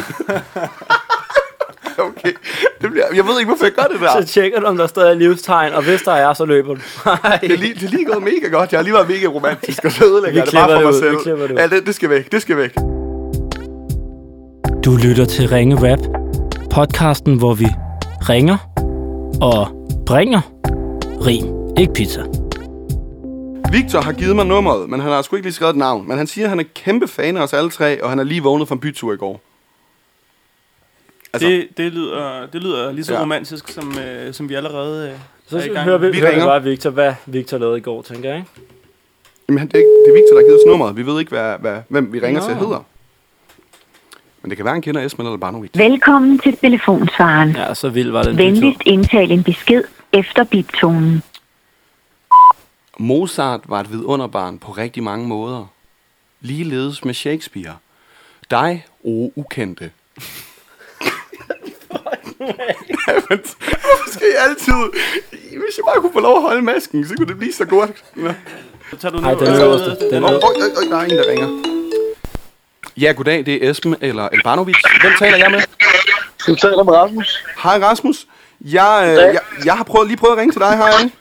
[SPEAKER 2] okay. Det bliver, jeg ved ikke, hvorfor jeg gør det der.
[SPEAKER 1] Så tjekker du, om der stadig er livstegn, og hvis der er, så løber du. Nej.
[SPEAKER 2] Det er, lige, det er lige gået mega godt. Jeg har lige været mega romantisk, og så ødelægger
[SPEAKER 1] Vi
[SPEAKER 2] jeg det bare for
[SPEAKER 1] klipper det ud,
[SPEAKER 2] mig
[SPEAKER 1] vi
[SPEAKER 2] selv.
[SPEAKER 1] klipper det ud.
[SPEAKER 2] ja, det, det skal væk. Det skal væk.
[SPEAKER 1] Du lytter til Ringe Rap, podcasten, hvor vi ringer og bringer rim, ikke pizza.
[SPEAKER 2] Victor har givet mig nummeret, men han har sgu ikke lige skrevet et navn. Men han siger, at han er kæmpe fan af os alle tre, og han er lige vågnet fra en bytur i går. Altså-
[SPEAKER 3] Altså. Det, det, lyder, det lyder lige så
[SPEAKER 2] Ja.
[SPEAKER 3] ja. romantisk, som, øh, som vi allerede øh,
[SPEAKER 1] Så
[SPEAKER 3] er i
[SPEAKER 1] skal vi
[SPEAKER 3] gang
[SPEAKER 1] høre,
[SPEAKER 3] med.
[SPEAKER 1] vi,
[SPEAKER 2] Vi
[SPEAKER 1] hører vi
[SPEAKER 2] ringer.
[SPEAKER 1] bare Victor, hvad Victor lavede i går, tænker jeg. Ikke?
[SPEAKER 2] Jamen, han- det er, ikke, det er Victor, der har givet os nummeret. Vi ved ikke, hvad, hvad, hvem vi ringer
[SPEAKER 1] Nå.
[SPEAKER 2] til hedder. Men det kan være, han kender Esmen eller Barnovic.
[SPEAKER 5] Velkommen til telefonsvaren.
[SPEAKER 1] Ja, så vild var den
[SPEAKER 5] Venligst indtal en besked efter biptonen.
[SPEAKER 2] Mozart var et vidunderbarn på rigtig mange måder. Ligeledes med Shakespeare. Dig, o ukendte. Jamen, Hvorfor skal I altid... Hvis jeg bare kunne få lov at holde masken, så kunne det blive så godt. Nå.
[SPEAKER 3] Så tager du
[SPEAKER 1] Ej,
[SPEAKER 3] ned-
[SPEAKER 1] den
[SPEAKER 3] øh,
[SPEAKER 1] øverste,
[SPEAKER 3] ned-
[SPEAKER 1] den
[SPEAKER 2] Åh,
[SPEAKER 1] øverste.
[SPEAKER 2] øj, øj, øj, der er en, der ringer. Ja, goddag, det er Esben eller Elbanovic. Hvem taler jeg med?
[SPEAKER 4] Du taler med Rasmus.
[SPEAKER 2] Hej Rasmus. Jeg, øh, jeg, jeg har prøvet, lige prøvet at ringe til dig, har jeg ikke?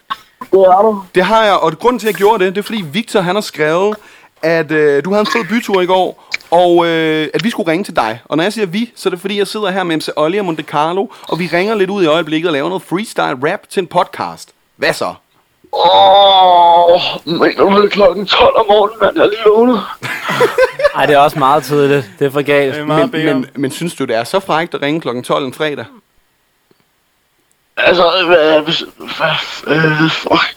[SPEAKER 4] Det er du.
[SPEAKER 2] Det har jeg, og grunden til, at jeg gjorde det, det er fordi Victor han har skrevet, at øh, du havde en fed bytur i går, og øh, at vi skulle ringe til dig. Og når jeg siger vi, så er det fordi, jeg sidder her med MC Olli og Monte Carlo, og vi ringer lidt ud i øjeblikket og laver noget freestyle rap til en podcast. Hvad så?
[SPEAKER 4] Åh, men nu er det klokken 12 om morgenen, mand. Jeg er lige vågnet.
[SPEAKER 1] Ej, det er også meget tidligt. Det er for galt.
[SPEAKER 3] Det er
[SPEAKER 2] Men,
[SPEAKER 3] meget bedre.
[SPEAKER 2] men, men synes du, det er så frækt at ringe klokken 12 en fredag?
[SPEAKER 4] Altså, hvad... Hvis, hvad øh, fuck.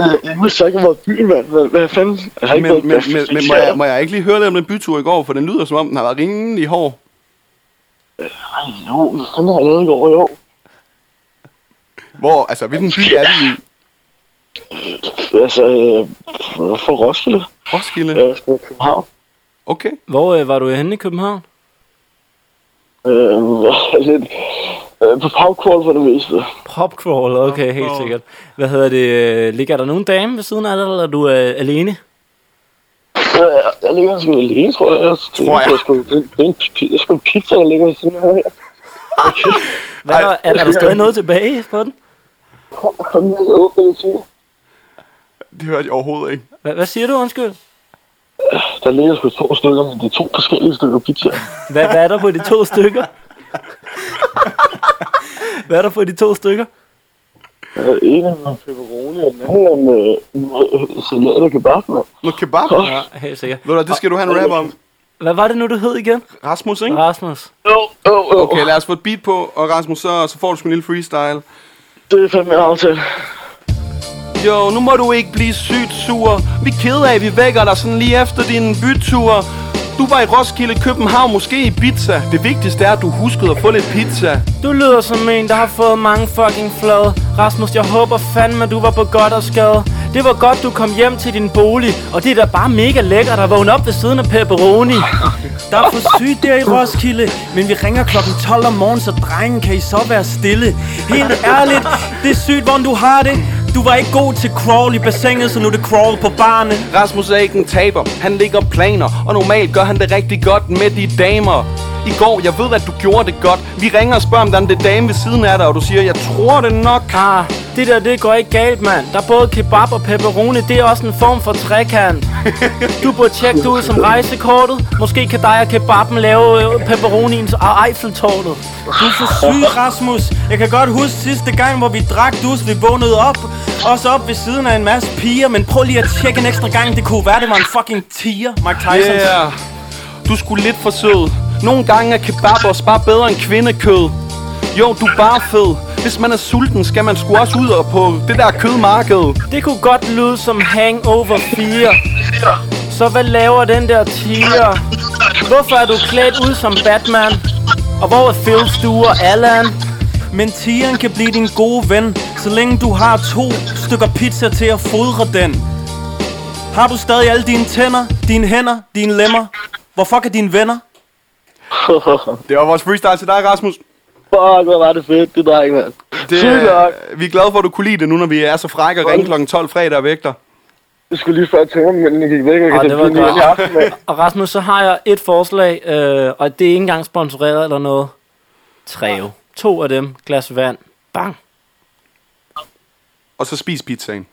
[SPEAKER 4] Øh, Jeg vidste ikke, hvor byen, mand. Hvad, hvad fanden? Jeg har ikke
[SPEAKER 2] Men,
[SPEAKER 4] været
[SPEAKER 2] men, men, men må, jeg, må jeg ikke lige høre lidt om den bytur i går, for den lyder som om, den har været rimelig hård.
[SPEAKER 4] Jo, men fanden har jeg lavet i går, jo.
[SPEAKER 2] Hvor, altså, hvilken by er det i?
[SPEAKER 4] Altså, øh, for Roskilde.
[SPEAKER 2] Roskilde?
[SPEAKER 4] Jeg skal til København.
[SPEAKER 2] Okay.
[SPEAKER 1] Hvor øh, var du henne i København?
[SPEAKER 4] Øh, lidt, øh, på popcorn for det meste.
[SPEAKER 1] Popcrawl, okay, helt
[SPEAKER 3] Popcrawl.
[SPEAKER 1] sikkert. Hvad hedder det? øh, Ligger der nogen dame ved siden af dig, eller er du øh, alene?
[SPEAKER 4] Øh, jeg- jeg ligger sgu alene, tror jeg. Jeg
[SPEAKER 2] Tror
[SPEAKER 4] tror,
[SPEAKER 2] jeg.
[SPEAKER 4] jeg. Sgu, det, det er en, pi- det er sgu en pizza, der ligger ved siden af her.
[SPEAKER 1] Hvad, er, er, er der stadig noget tilbage på den?
[SPEAKER 4] Kom, kom ned og åbne det til.
[SPEAKER 2] Det hørte jeg overhovedet ikke.
[SPEAKER 1] Hvad, hvad siger du, undskyld?
[SPEAKER 4] Der ligger sgu to stykker, men det er to forskellige stykker pizza.
[SPEAKER 1] Hvad, hvad er der på de to stykker? hvad er der på de to stykker?
[SPEAKER 4] Øh, en af dem er pepperoni, og den anden er med, med salat og kebab, mand.
[SPEAKER 2] Noget kebab?
[SPEAKER 1] Ja, helt sikkert.
[SPEAKER 2] Ved du, hvad, det skal du have en rap om.
[SPEAKER 1] Hvad var det nu, du hed igen?
[SPEAKER 2] Rasmus, ikke?
[SPEAKER 1] Rasmus.
[SPEAKER 4] Jo, jo, jo.
[SPEAKER 2] Okay, lad os få et beat på, og Rasmus, så, så får du sgu en lille freestyle.
[SPEAKER 4] Det er fandme en aftale.
[SPEAKER 2] Jo, nu må du ikke blive sygt sur. Vi er ked af, at vi vækker dig sådan lige efter din bytur. Du var i Roskilde, København, måske i pizza. Det vigtigste er, at du huskede at få lidt pizza.
[SPEAKER 1] Du lyder som en, der har fået mange fucking flad. Rasmus, jeg håber fandme, du var på godt og skade. Det var godt, du kom hjem til din bolig. Og det er da bare mega lækkert at vågne op ved siden af pepperoni.
[SPEAKER 3] Der er for sygt der i Roskilde, men vi ringer klokken 12 om morgenen, så drengen kan I så være stille. Helt ærligt, det er sygt, hvordan du har det. Du var ikke god til crawl i bassinet, så nu er det crawl på barne.
[SPEAKER 2] Rasmus er ikke en taber, han ligger planer Og normalt gør han det rigtig godt med de damer I går, jeg ved at du gjorde det godt Vi ringer og spørger om der er en dame ved siden af dig Og du siger, jeg tror det nok
[SPEAKER 1] Ah, Det der, det går ikke galt, mand. Der er både kebab og pepperoni, det er også en form for trekant. Du burde tjekke det ud som rejsekortet. Måske kan dig og kebaben lave øh, pepperonien og Eiffeltårnet.
[SPEAKER 3] Du er for syg, Rasmus. Jeg kan godt huske sidste gang, hvor vi drak dus, vi vågnede op. Også op ved siden af en masse piger, men prøv lige at tjekke en ekstra gang. Det kunne være, det var en fucking tiger, Mike Tyson. Yeah.
[SPEAKER 2] Yeah. Du skulle lidt for sød. Nogle gange er kebab også bare bedre end kvindekød. Jo, du er bare fed. Hvis man er sulten, skal man sgu også ud og på det der kødmarked.
[SPEAKER 1] Det kunne godt lyde som Hangover 4. Så hvad laver den der tiger? Hvorfor er du klædt ud som Batman? Og hvor er Phil Stue og Allan?
[SPEAKER 3] Men tigeren kan blive din gode ven, så længe du har to stykker pizza til at fodre den. Har du stadig alle dine tænder, dine hænder, dine lemmer? Hvor fuck er dine venner?
[SPEAKER 2] Det var vores freestyle til dig, Rasmus.
[SPEAKER 9] Fuck, hvor var det fedt, det dreng, mand.
[SPEAKER 2] Det,
[SPEAKER 9] Sygt nok.
[SPEAKER 2] øh, vi er glade for, at du kunne lide det nu, når vi er så frække og ringer kl. 12 fredag og vægter.
[SPEAKER 9] Jeg skulle lige før tænke, men den gik væk. Jeg kan
[SPEAKER 1] Åh, det
[SPEAKER 9] sætte
[SPEAKER 1] var
[SPEAKER 9] den i
[SPEAKER 1] godt.
[SPEAKER 9] i aften, mand.
[SPEAKER 1] Og Rasmus, så har jeg et forslag, øh, og det er ikke engang sponsoreret eller noget. Treo. To af dem. Glas vand. Bang.
[SPEAKER 2] Og så spis pizzaen.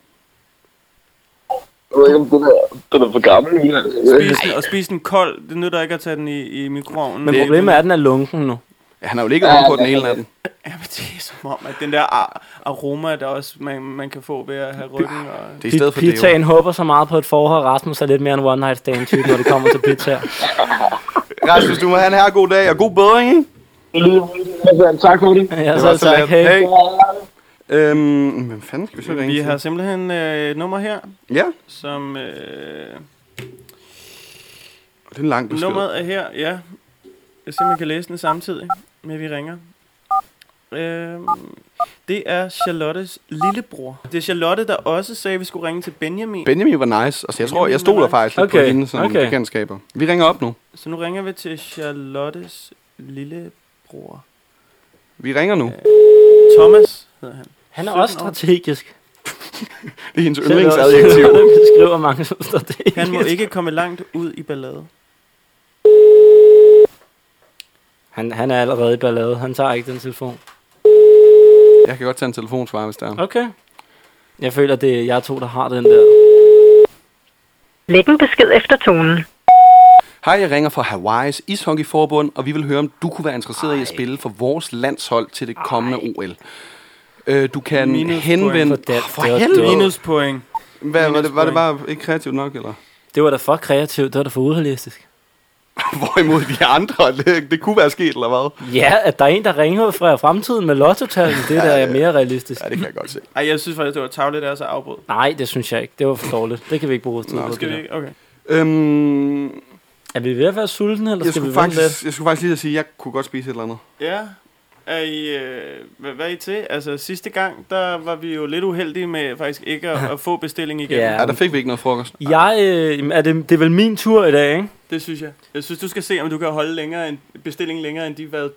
[SPEAKER 9] Jeg ved ikke, om den er, den er for gammel. men jeg- jeg ved ikke.
[SPEAKER 3] Spis den, og spis den kold. Det nytter ikke at tage den i, i mikroovnen.
[SPEAKER 1] Men problemet er, at den er lunken nu.
[SPEAKER 2] Ja, han har jo ligget oven på den hele natten.
[SPEAKER 3] Ja, men det er som om, at den der ar- aroma, der også man, man kan få ved at have ryggen og...
[SPEAKER 2] Det er i stedet for det.
[SPEAKER 1] Pizzaen håber så meget på et forhold, Rasmus er lidt mere en one night stand type, når det kommer til pizzaer.
[SPEAKER 2] jo. Rasmus, du må have en her god dag og god bedring, ikke?
[SPEAKER 9] Det lyder meget. Tak for det.
[SPEAKER 1] Ja,
[SPEAKER 2] Det
[SPEAKER 1] så
[SPEAKER 2] var så
[SPEAKER 1] tak.
[SPEAKER 2] let.
[SPEAKER 1] Hey.
[SPEAKER 2] Hey. Øhm, hvem fanden skal vi så ringe
[SPEAKER 3] Vi
[SPEAKER 2] til?
[SPEAKER 3] har simpelthen øh, et nummer her,
[SPEAKER 2] Ja,
[SPEAKER 3] som... Øh,
[SPEAKER 2] det er en lang besked.
[SPEAKER 3] nummeret er her, ja. Jeg simpelthen kan læse den samtidig, med vi ringer. Øh, det er Charlottes lillebror. Det er Charlotte, der også sagde, at vi skulle ringe til Benjamin.
[SPEAKER 2] Benjamin var nice. Altså, jeg tror,
[SPEAKER 3] Benjamin
[SPEAKER 2] jeg
[SPEAKER 3] var
[SPEAKER 2] stoler
[SPEAKER 3] nice.
[SPEAKER 2] faktisk lidt okay. på
[SPEAKER 1] Okay,
[SPEAKER 2] hende som okay.
[SPEAKER 1] okay.
[SPEAKER 2] bekendtskaber. Vi ringer op nu.
[SPEAKER 3] så nu ringer vi til Charlottes lillebror.
[SPEAKER 2] Vi ringer nu.
[SPEAKER 3] Thomas hedder han.
[SPEAKER 1] Han er også strategisk.
[SPEAKER 2] Det er hendes yndlingsadjektiv.
[SPEAKER 1] Det skriver mange som strategisk.
[SPEAKER 3] Han må ikke komme langt ud i ballade.
[SPEAKER 1] Han, han er allerede i ballade. Han tager ikke den telefon.
[SPEAKER 2] Jeg kan godt tage en telefonsvar, hvis der er.
[SPEAKER 1] Okay. Jeg føler, det er jer to, der har den der.
[SPEAKER 5] Læg en besked efter tonen.
[SPEAKER 2] Hej, jeg ringer fra Hawaii's ishockeyforbund, og vi vil høre, om du kunne være interesseret Ej. i at spille for vores landshold til det kommende Ej. OL. Øh, du kan
[SPEAKER 3] Minuspoint
[SPEAKER 2] henvende...
[SPEAKER 1] for den.
[SPEAKER 2] Åh, for
[SPEAKER 1] Det var
[SPEAKER 2] helvede!
[SPEAKER 1] dumt.
[SPEAKER 3] Minuspoint.
[SPEAKER 2] Hvad, var, det, var det
[SPEAKER 3] minuspoint.
[SPEAKER 2] bare ikke kreativt nok, eller?
[SPEAKER 1] Det var da for kreativt. Det var da for urealistisk.
[SPEAKER 2] Hvorimod de andre, det, det kunne være sket, eller hvad?
[SPEAKER 1] Ja, at der er en, der ringer fra fremtiden med lottotallen, det er da mere realistisk.
[SPEAKER 2] Ja, det kan jeg godt se.
[SPEAKER 3] Ej, jeg synes faktisk, det var tavligt af os at afbryde.
[SPEAKER 1] Nej, det synes jeg ikke. Det var for dårligt. Det kan vi ikke bruge vores tid på.
[SPEAKER 3] Skal vi
[SPEAKER 1] det der.
[SPEAKER 3] ikke? Okay.
[SPEAKER 2] Øhm,
[SPEAKER 1] Er vi ved at være sultne, eller
[SPEAKER 2] jeg,
[SPEAKER 1] skal vi
[SPEAKER 2] skulle
[SPEAKER 1] vente lidt?
[SPEAKER 2] faktisk, jeg skulle faktisk lige at sige, at jeg kunne godt spise et eller andet.
[SPEAKER 3] Ja. Er I, øh, hvad, hvad er I til? Altså, sidste gang, der var vi jo lidt uheldige med faktisk ikke at, at få bestilling igen.
[SPEAKER 1] Ja.
[SPEAKER 2] Ja, der fik vi ikke noget frokost.
[SPEAKER 1] Jeg, øh, jamen, er det, det er vel min tur i dag, ikke?
[SPEAKER 3] Det synes jeg. Jeg synes, du skal se, om du kan holde længere end, bestillingen længere end de hvad,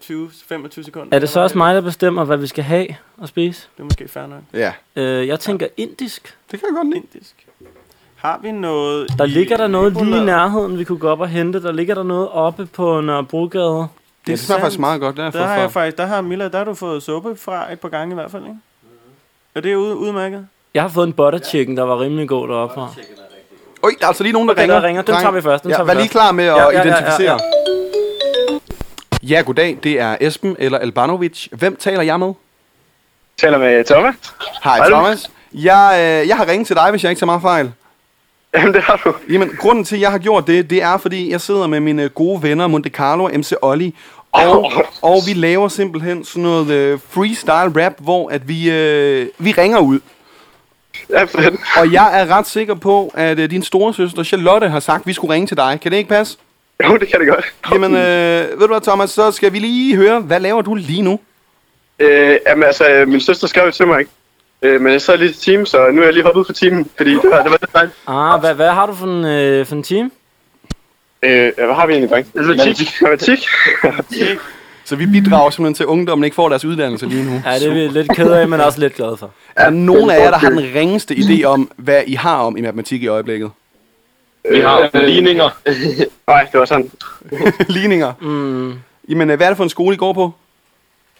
[SPEAKER 3] 20-25 sekunder.
[SPEAKER 1] Er det så også mig, der bestemmer, hvad vi skal have at spise?
[SPEAKER 3] Det er måske fair nok.
[SPEAKER 2] Ja,
[SPEAKER 1] Øh, jeg tænker indisk.
[SPEAKER 2] det kan jeg godt lide.
[SPEAKER 3] Indisk. Har vi noget
[SPEAKER 1] Der
[SPEAKER 3] i
[SPEAKER 1] ligger der noget lige i
[SPEAKER 3] nabolaget?
[SPEAKER 1] nærheden, vi kunne gå op og hente. Der ligger der noget oppe på Nørrebrogade.
[SPEAKER 2] Det, det smager
[SPEAKER 3] sandt.
[SPEAKER 2] faktisk meget godt, der,
[SPEAKER 3] Der har
[SPEAKER 2] der
[SPEAKER 3] jeg
[SPEAKER 2] for.
[SPEAKER 3] faktisk, der har Milla, der har du fået suppe fra et par gange i hvert fald, ikke? Og det er ude, udmærket.
[SPEAKER 1] Jeg har fået en butter chicken, der var rimelig god deroppe fra.
[SPEAKER 2] Øj, der er altså lige nogen, der
[SPEAKER 1] Okay,
[SPEAKER 2] ringer.
[SPEAKER 1] der ringer. Den
[SPEAKER 2] Dreng.
[SPEAKER 1] tager vi først, den
[SPEAKER 2] ja,
[SPEAKER 1] tager vi
[SPEAKER 2] vær lige
[SPEAKER 1] først.
[SPEAKER 2] klar med at
[SPEAKER 1] Ja,
[SPEAKER 2] ja,
[SPEAKER 1] ja, ja,
[SPEAKER 2] identificere. Ja,
[SPEAKER 1] ja,
[SPEAKER 2] ja, ja. ja, goddag. Det er Esben eller Albanovic. Hvem taler jeg med?
[SPEAKER 9] Taler med Thomas.
[SPEAKER 2] Hej, Thomas. Jeg, øh, jeg har ringet til dig, hvis jeg ikke tager meget fejl.
[SPEAKER 9] Jamen, det har du.
[SPEAKER 2] Jamen, grunden til, at jeg har gjort det, det er, fordi jeg sidder med mine gode venner Monte Carlo og MC Olli. Og, og vi laver simpelthen sådan noget øh, freestyle rap, hvor at vi, øh, vi ringer ud.
[SPEAKER 9] Ja, fedt.
[SPEAKER 2] Og jeg er ret sikker på, at øh, din storesøster Charlotte har sagt, at vi skulle ringe til dig. Kan det ikke passe?
[SPEAKER 9] Jo, det kan det godt.
[SPEAKER 2] Jamen, øh, ved du hvad, Thomas, så skal vi lige høre, hvad laver du lige nu?
[SPEAKER 9] Øh, jamen, altså, øh, min søster skrev jo til mig, ikke? Øh, men jeg sad lige til timen, så nu er jeg lige hoppet ud fra timen, fordi det var, det var lidt dejligt.
[SPEAKER 1] Ah, hvad, hvad har du for en, øh, for en time?
[SPEAKER 9] Øh, hvad har vi egentlig, dreng? Matematik. Matematik.
[SPEAKER 2] Så vi bidrager simpelthen til, at ungdommen ikke får deres uddannelse lige nu.
[SPEAKER 1] Ja, det er vi lidt ked af, men også lidt glade for.
[SPEAKER 2] Er der nogen af jer, der har den ringeste idé om, hvad I har om i matematik i øjeblikket?
[SPEAKER 9] Vi har øh, ligninger. Nej, det var sådan.
[SPEAKER 2] Ligninger.
[SPEAKER 1] Mm.
[SPEAKER 2] Jamen, øh, hvad er det for en skole, I går på?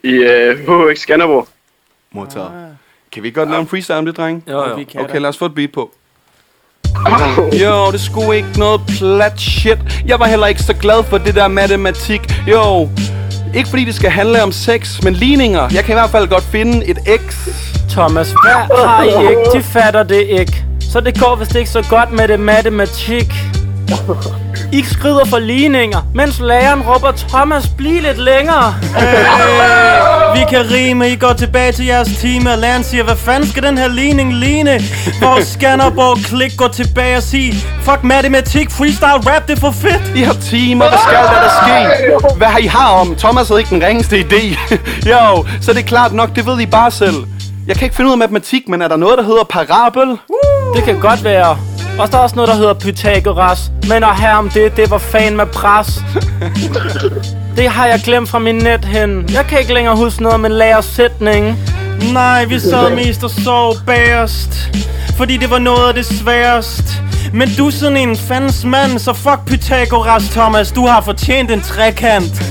[SPEAKER 9] I øh, HX Skanderborg.
[SPEAKER 2] Modtaget. Kan vi ikke godt lave en freestyle om det, dreng?
[SPEAKER 1] Jo, jo. Vi
[SPEAKER 3] kan
[SPEAKER 2] okay,
[SPEAKER 3] da.
[SPEAKER 2] lad os få et beat på. Jo, det skulle ikke noget plat shit. Jeg var heller ikke så glad for det der matematik. Jo, ikke fordi det skal handle om sex, men ligninger. Jeg kan i hvert fald godt finde et X.
[SPEAKER 1] Thomas, hvad har I ikke? De fatter det ikke. Så det går vist ikke så godt med det matematik. I skrider for ligninger, mens læreren råber, Thomas, bliv lidt længere.
[SPEAKER 3] Vi kan rime, I går tilbage til jeres time, og læreren siger, hvad fanden skal den her ligning ligne? Hvor Skanderborg klik går tilbage og siger, fuck matematik, freestyle rap, det er for fedt.
[SPEAKER 2] I har timer, hvad skal der, der ske? Hvad har I har om? Thomas havde ikke den ringeste idé. jo, så det er klart nok, det ved I bare selv. Jeg kan ikke finde ud af matematik, men er der noget, der hedder parabel?
[SPEAKER 1] Det kan godt være. Og der er også noget, der hedder Pythagoras. Men at have om det, det var fan med pres. Det har jeg glemt fra min net hen. Jeg kan ikke længere huske noget med lærersætningen.
[SPEAKER 3] Nej, vi sad mest og sov bagerst Fordi det var noget af det sværest Men du er sådan en fandens mand Så fuck Pythagoras, Thomas Du har fortjent en trekant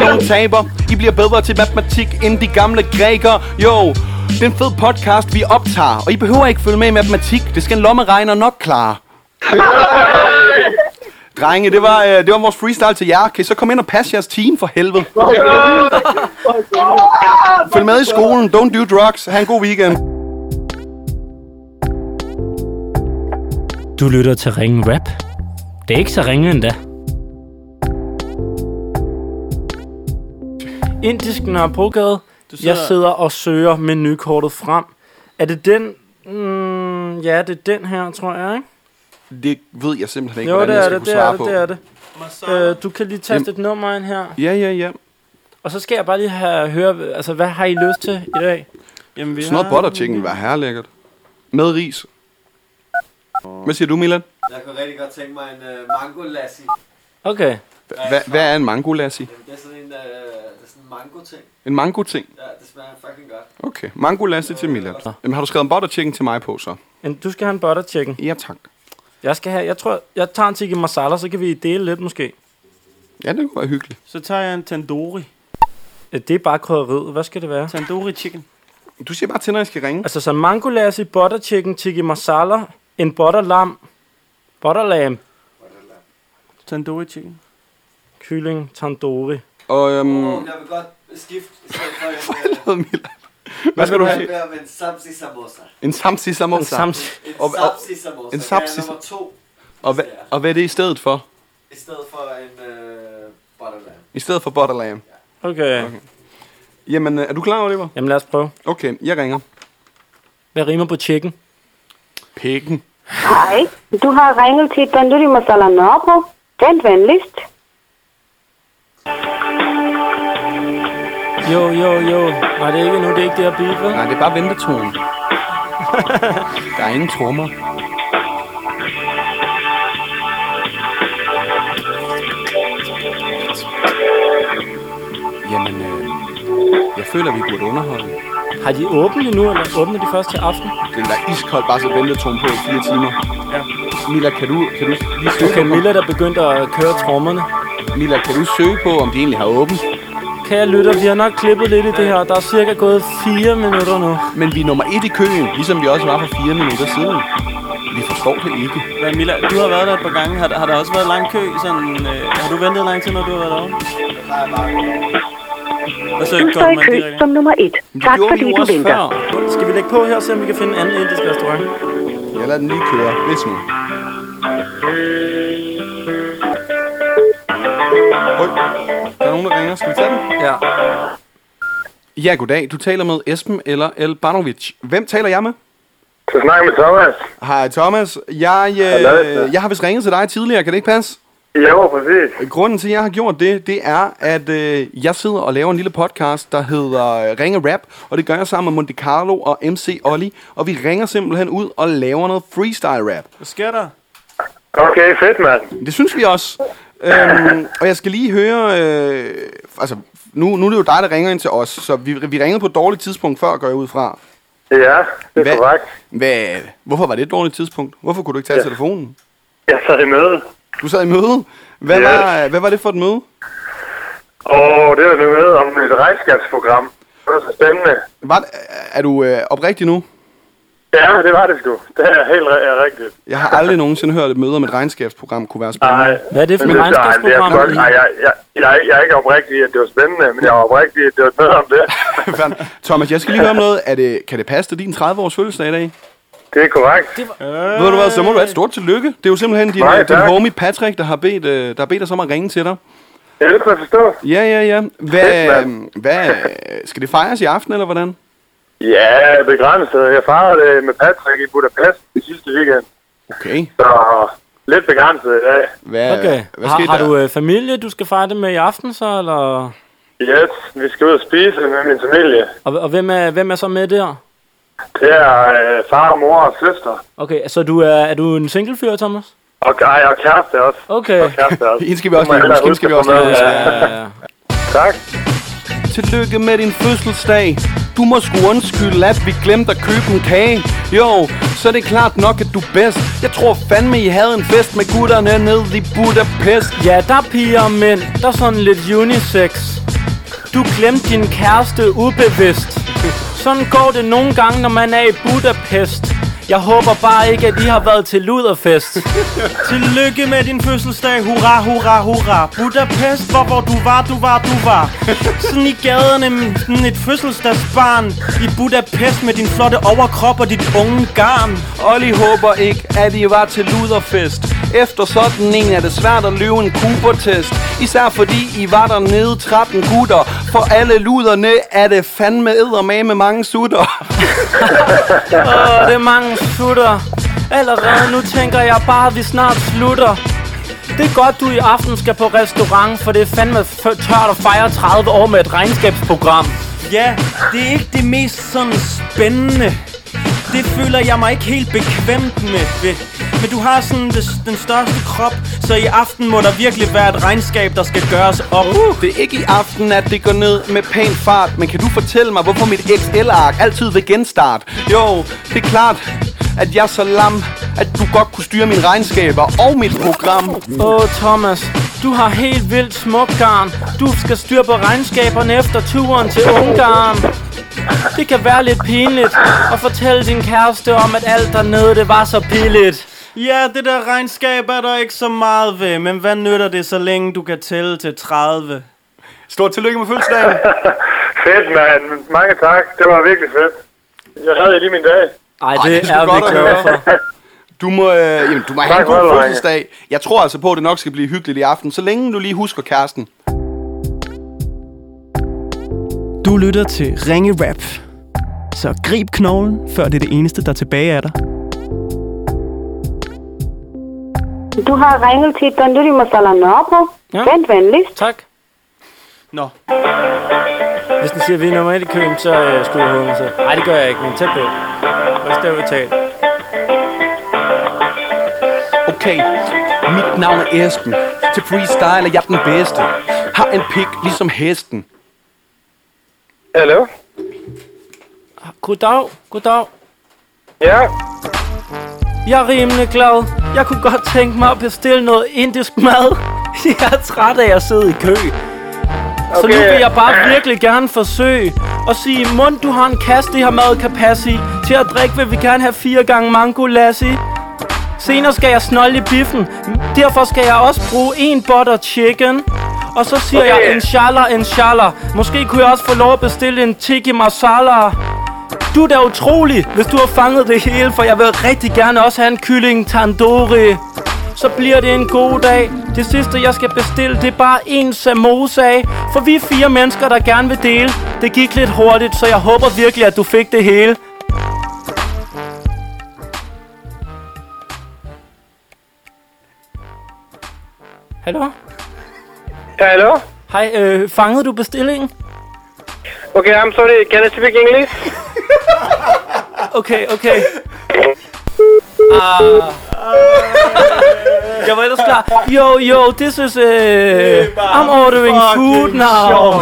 [SPEAKER 2] Nogle taber. I bliver bedre til matematik end de gamle grækere. Jo, det er en fed podcast, vi optager. Og I behøver ikke følge med i matematik. Det skal en lommeregner nok klare. Drenge, det var, øh, det var vores freestyle til jer. Kan I så komme ind og passe jeres team for helvede? Følg med i skolen. Don't do drugs. Ha' en god weekend.
[SPEAKER 1] Du lytter til Ringen Rap. Det er ikke så ringe endda. Indisk Nørrebrogade. Jeg sidder og søger menukortet frem. Er det den? Mm, ja, det er den her, tror jeg, ikke?
[SPEAKER 2] Det ved jeg simpelthen ikke,
[SPEAKER 1] Jo, det
[SPEAKER 2] hvordan jeg
[SPEAKER 1] er det,
[SPEAKER 2] skal kunne
[SPEAKER 1] det er
[SPEAKER 2] svare
[SPEAKER 1] det,
[SPEAKER 2] på.
[SPEAKER 1] det er det. Øh, du kan lige taste et nummer ind her.
[SPEAKER 2] Ja, ja, ja.
[SPEAKER 1] Og så skal jeg bare lige have, høre, altså, hvad har I lyst til i dag?
[SPEAKER 3] Jamen, vi
[SPEAKER 2] Sådan noget butter chicken var herrelækkert. Med ris. Hvad siger du, Milan?
[SPEAKER 10] Jeg kunne rigtig godt tænke mig en uh, mango lassi.
[SPEAKER 1] Okay.
[SPEAKER 2] Hva, hvad er en mango, Lassie?
[SPEAKER 10] Jamen, det er sådan en, uh, det er sådan en mango-ting.
[SPEAKER 2] En mango-ting?
[SPEAKER 10] Ja, det smager fucking godt.
[SPEAKER 2] Okay. Mango Lassie til Milan. Jamen, har du skrevet en butter chicken til mig på, så?
[SPEAKER 1] Men du skal have en butter chicken.
[SPEAKER 2] Ja, tak.
[SPEAKER 1] Jeg skal have, jeg tror, jeg tager en tikki masala, så kan vi dele lidt måske.
[SPEAKER 2] Ja, det kunne være hyggeligt.
[SPEAKER 3] Så tager jeg en tandoori
[SPEAKER 1] Øh, Det er bare krydderiet. Hvad skal det være?
[SPEAKER 3] Tandoori chicken
[SPEAKER 2] Du siger bare til, når jeg skal ringe.
[SPEAKER 1] Altså så mango lassi, butter chicken, tikki masala, en butter lam, butter lam,
[SPEAKER 3] Tandoori chicken
[SPEAKER 1] kylling, tandoori.
[SPEAKER 2] Og øhm,
[SPEAKER 10] Mm. Jeg vil godt skifte i stedet for en, uh,
[SPEAKER 2] Milan. Hvad skal du
[SPEAKER 10] jeg
[SPEAKER 2] have?
[SPEAKER 10] vil være med en samsi samosa.
[SPEAKER 2] En samsi
[SPEAKER 1] En
[SPEAKER 2] samosa.
[SPEAKER 1] sams-
[SPEAKER 10] En
[SPEAKER 2] Og- og-
[SPEAKER 10] samsi samosa.
[SPEAKER 2] en
[SPEAKER 10] Det er
[SPEAKER 2] samsi-
[SPEAKER 10] nummer to
[SPEAKER 2] Og, hva, og hvad er det i stedet for?
[SPEAKER 10] i stedet for en uh, butterland.
[SPEAKER 2] I stedet for butter lamb.
[SPEAKER 1] Okay.
[SPEAKER 2] Jamen, øh, er du klar, Oliver?
[SPEAKER 1] Jamen lad os prøve.
[SPEAKER 2] Okay, jeg ringer.
[SPEAKER 1] Hvad rimer på chicken?
[SPEAKER 2] Pikken.
[SPEAKER 5] Hej, du har ringet til Danduri Masala Nørrebro. Den venligst.
[SPEAKER 1] Jo, jo, jo. Nej, det er ikke nu, det er ikke det her beat, vel?
[SPEAKER 2] Nej, det er bare ventetonen. Der er ingen trommer. Jamen, øh, jeg føler, vi burde underholde.
[SPEAKER 1] Har de åbent endnu, eller åbner de først til aften?
[SPEAKER 2] Den der iskold bare så ventetone på i fire timer.
[SPEAKER 3] Ja.
[SPEAKER 2] Mila, kan du, kan du lige søge
[SPEAKER 1] Okay,
[SPEAKER 2] på,
[SPEAKER 1] Milla, der begyndte at køre trommerne.
[SPEAKER 2] Mila, kan du søge på, om de egentlig har åbent?
[SPEAKER 1] Kære lytter, vi har nok klippet lidt i det her. Der er cirka gået 4 minutter nu.
[SPEAKER 2] Men vi er nummer et i køen, ligesom vi også var for fire minutter siden. Vi forstår det ikke.
[SPEAKER 3] Hvad øh, Mila, du har været der et par gange Har, der- har der også været lang kø sådan, øh, Har du ventet lang tid, når du har været derovre? Og så
[SPEAKER 5] Du står
[SPEAKER 3] går
[SPEAKER 5] i
[SPEAKER 3] man
[SPEAKER 5] kø
[SPEAKER 3] direkte
[SPEAKER 5] som nummer et. Tak
[SPEAKER 2] gjorde vi
[SPEAKER 5] fordi
[SPEAKER 2] jo
[SPEAKER 5] du
[SPEAKER 2] også
[SPEAKER 5] venter.
[SPEAKER 2] før.
[SPEAKER 1] Skal vi lægge på her og se, om vi kan finde en anden indisk restaurant?
[SPEAKER 2] Jeg lader den lige køre. Lidt nu. Hej. Der er nogen, der ringer. Skal vi tage den?
[SPEAKER 1] Ja.
[SPEAKER 2] Ja, goddag. Du taler med Esben eller El Banovic. Hvem taler jeg med?
[SPEAKER 7] Så snakker jeg med Thomas.
[SPEAKER 2] Hej Thomas. Jeg, øh, jeg har vist ringet til dig tidligere. Kan det ikke passe?
[SPEAKER 7] Jo, præcis.
[SPEAKER 2] Grunden til, at jeg har gjort det, det er, at øh, jeg sidder og laver en lille podcast, der hedder øh, Ringe Rap, og det gør jeg sammen med Monte Carlo og MC Olli, og vi ringer simpelthen ud og laver noget freestyle rap.
[SPEAKER 3] Hvad sker der?
[SPEAKER 7] Okay, fedt, mand.
[SPEAKER 2] Det synes vi også. Øhm, og jeg skal lige høre, øh, altså nu, nu er det jo dig, der ringer ind til os, så vi, vi ringede på et dårligt tidspunkt før, går jeg ud fra.
[SPEAKER 7] Ja, det
[SPEAKER 2] Hvad-
[SPEAKER 7] er korrekt.
[SPEAKER 2] Hvad, hvorfor var det et dårligt tidspunkt? Hvorfor kunne du ikke tage ja. telefonen?
[SPEAKER 7] Jeg sad i møde.
[SPEAKER 2] Du sad i møde. Hvad,
[SPEAKER 7] Ja.
[SPEAKER 2] var, hvad var det for et møde?
[SPEAKER 7] Og det var et møde om et regnskabsprogram. Det var så spændende.
[SPEAKER 2] Var, er du øh, oprigtig nu?
[SPEAKER 7] Ja, det var det sgu. Det er helt ri- er rigtigt.
[SPEAKER 2] Jeg har aldrig nogensinde hørt et møde om et regnskabsprogram kunne være spændende.
[SPEAKER 7] Nej. Men nej, det er godt. Nej, jeg, jeg, jeg, jeg er ikke oprigtig, i, at det var spændende, men jeg er oprigtig, i, at det var noget om det.
[SPEAKER 2] Thomas, jeg skal lige høre om noget. Er det, kan det passe til din 30-års fødselsdag i dag?
[SPEAKER 7] Det er korrekt.
[SPEAKER 2] Øh. Ved du hvad, så må du have et stort tillykke. Det er jo simpelthen din,
[SPEAKER 7] Nej,
[SPEAKER 2] Nej, din
[SPEAKER 7] tak.
[SPEAKER 2] homie Patrick, der har bedt, øh, der har bedt os om at ringe til dig.
[SPEAKER 7] Ja, det kan jeg forstå.
[SPEAKER 2] Ja, ja, ja. Hvad, øhm,
[SPEAKER 7] Fedt, mand.
[SPEAKER 2] hvad, øh, skal det fejres i aften, eller hvordan?
[SPEAKER 7] Ja, begrænset. Jeg farede det med Patrick i Budapest i sidste weekend.
[SPEAKER 2] Okay.
[SPEAKER 7] Så lidt begrænset i dag.
[SPEAKER 2] Hvad,
[SPEAKER 1] Okay. Hvad har, har du øh, familie, du skal fejre det med i aften, så? Eller?
[SPEAKER 7] Yes, vi skal ud og spise med min familie.
[SPEAKER 1] Og, og hvem, er, hvem er så med der?
[SPEAKER 7] Det er øh, far, mor og søster.
[SPEAKER 1] Okay, så du er, er du en single fyr, Thomas?
[SPEAKER 7] Og, ej, og kæreste også.
[SPEAKER 1] Okay.
[SPEAKER 7] Og kæreste også.
[SPEAKER 2] Hende skal vi også
[SPEAKER 7] Det må
[SPEAKER 2] lige-
[SPEAKER 7] jeg hellere
[SPEAKER 2] hende skal vi
[SPEAKER 7] huske
[SPEAKER 2] også
[SPEAKER 7] at få
[SPEAKER 2] lige-
[SPEAKER 7] med.
[SPEAKER 2] Ja, ja, ja.
[SPEAKER 7] Tak.
[SPEAKER 2] Tillykke med din fødselsdag. Du må sgu undskylde, at vi glemte at købe en kage. Jo, så er det klart nok, at du er bedst. Jeg tror fandme, I havde en fest med gutterne nede i Budapest.
[SPEAKER 1] Ja, der er piger og mænd. Der er sådan lidt unisex. Du glemte din kæreste ubevidst. Sådan går det nogle gange, når man er i Budapest. Jeg håber bare ikke, at I har været til luderfest.
[SPEAKER 3] Tillykke med din fødselsdag, hurra, hurra, hurra. Budapest, hvor, hvor du var, du var, du var. Sådan i gaderne, mm, sådan et fødselsdagsbarn. I Budapest med din flotte overkrop og dit unge garn.
[SPEAKER 2] Olli håber ikke, at I var til luderfest. Efter sådan en er det svært at løbe en Cooper-test. Især fordi I var dernede 13 gutter. For alle luderne er det fandme eddermame mange sutter.
[SPEAKER 1] Åh, det er mange slutter. Allerede nu tænker jeg bare, at vi snart slutter. Det er godt, du i aften skal på restaurant, for det er fandme f- tørt at fejre 30 år med et regnskabsprogram.
[SPEAKER 3] Ja, det er ikke det mest sådan spændende. Det føler jeg mig ikke helt bekvemt med. ved. Men du har sådan det, den største krop, så i aften må der virkelig være et regnskab, der skal gøres op. Uh.
[SPEAKER 2] Det er ikke i aften, at det går ned med pæn fart. Men kan du fortælle mig, hvorfor mit XL-ark altid vil genstart? Jo, det er klart, at jeg er så lam, at du godt kunne styre mine regnskaber og mit program.
[SPEAKER 1] Åh, oh, Thomas, du har helt vildt smuk garn. Du skal styre på regnskaberne efter turen til Ungarn. Det kan være lidt pinligt at fortælle din kæreste om, at alt dernede, det var så pilligt.
[SPEAKER 3] Ja, det der regnskab er der ikke så meget ved, men hvad nytter det, så længe du kan tælle til 30?
[SPEAKER 2] Stort tillykke med fødselsdagen.
[SPEAKER 7] Fedt, mand. Mange tak. Det var virkelig fedt. Jeg havde lige min dag.
[SPEAKER 1] Ej,
[SPEAKER 2] Ej, det er vi glade for. Du må, øh, jamen, du må have en
[SPEAKER 7] Tak for
[SPEAKER 2] god
[SPEAKER 7] det,
[SPEAKER 2] fødselsdag. Jeg tror altså på, at det nok skal blive hyggeligt i aften, så længe du lige husker kæresten.
[SPEAKER 3] Du lytter til Ringe Rap. Så grib knoglen, før det er det eneste, der er tilbage af dig.
[SPEAKER 5] Du har ringet til Danduri Masala Nørrebro. Ja. Vent venligst.
[SPEAKER 1] Tak.
[SPEAKER 3] Nå.
[SPEAKER 1] Hvis den siger, at vi er nummer et i køen, så øh, skulle jeg hovedet selv. Nej, det gør jeg ikke, men tæt på. Hvad skal vi tale?
[SPEAKER 2] Okay, mit navn er Esben. Til freestyle er jeg den bedste. Har en pik ligesom hesten.
[SPEAKER 7] Hallo?
[SPEAKER 1] Goddag, goddag.
[SPEAKER 7] Ja,
[SPEAKER 1] Jeg er rimelig glad. Jeg kunne godt tænke mig at bestille noget indisk mad. Jeg er træt af at sidde i kø. Så nu
[SPEAKER 7] Okay.
[SPEAKER 1] vil jeg bare virkelig gerne forsøge at sige, mund du har en kasse, det her mad kan passe i. Til at drikke vil vi gerne have fire gange mango lassi. Senere skal jeg snolde i biffen. Derfor skal jeg også bruge en butter chicken. Og så siger okay.
[SPEAKER 7] Okay.
[SPEAKER 1] jeg inshallah, inshallah. Måske kunne jeg også få lov at bestille en tiki masala. Du er da utrolig, hvis du har fanget det hele, for jeg vil rigtig gerne også have en kylling tandoori. Så bliver det en god dag. Det sidste, jeg skal bestille, det er bare en samosa af, for vi er fire mennesker, der gerne vil dele. Det gik lidt hurtigt, så jeg håber virkelig, at du fik det hele. Hallo?
[SPEAKER 7] Ja, hallo?
[SPEAKER 1] Hej, øh, fangede du bestillingen?
[SPEAKER 7] Okay, I'm sorry. Can I speak English?
[SPEAKER 1] Okay, okay. Ah. Jeg var ellers klar. Yo, yo, this is... Uh, I'm ordering food now.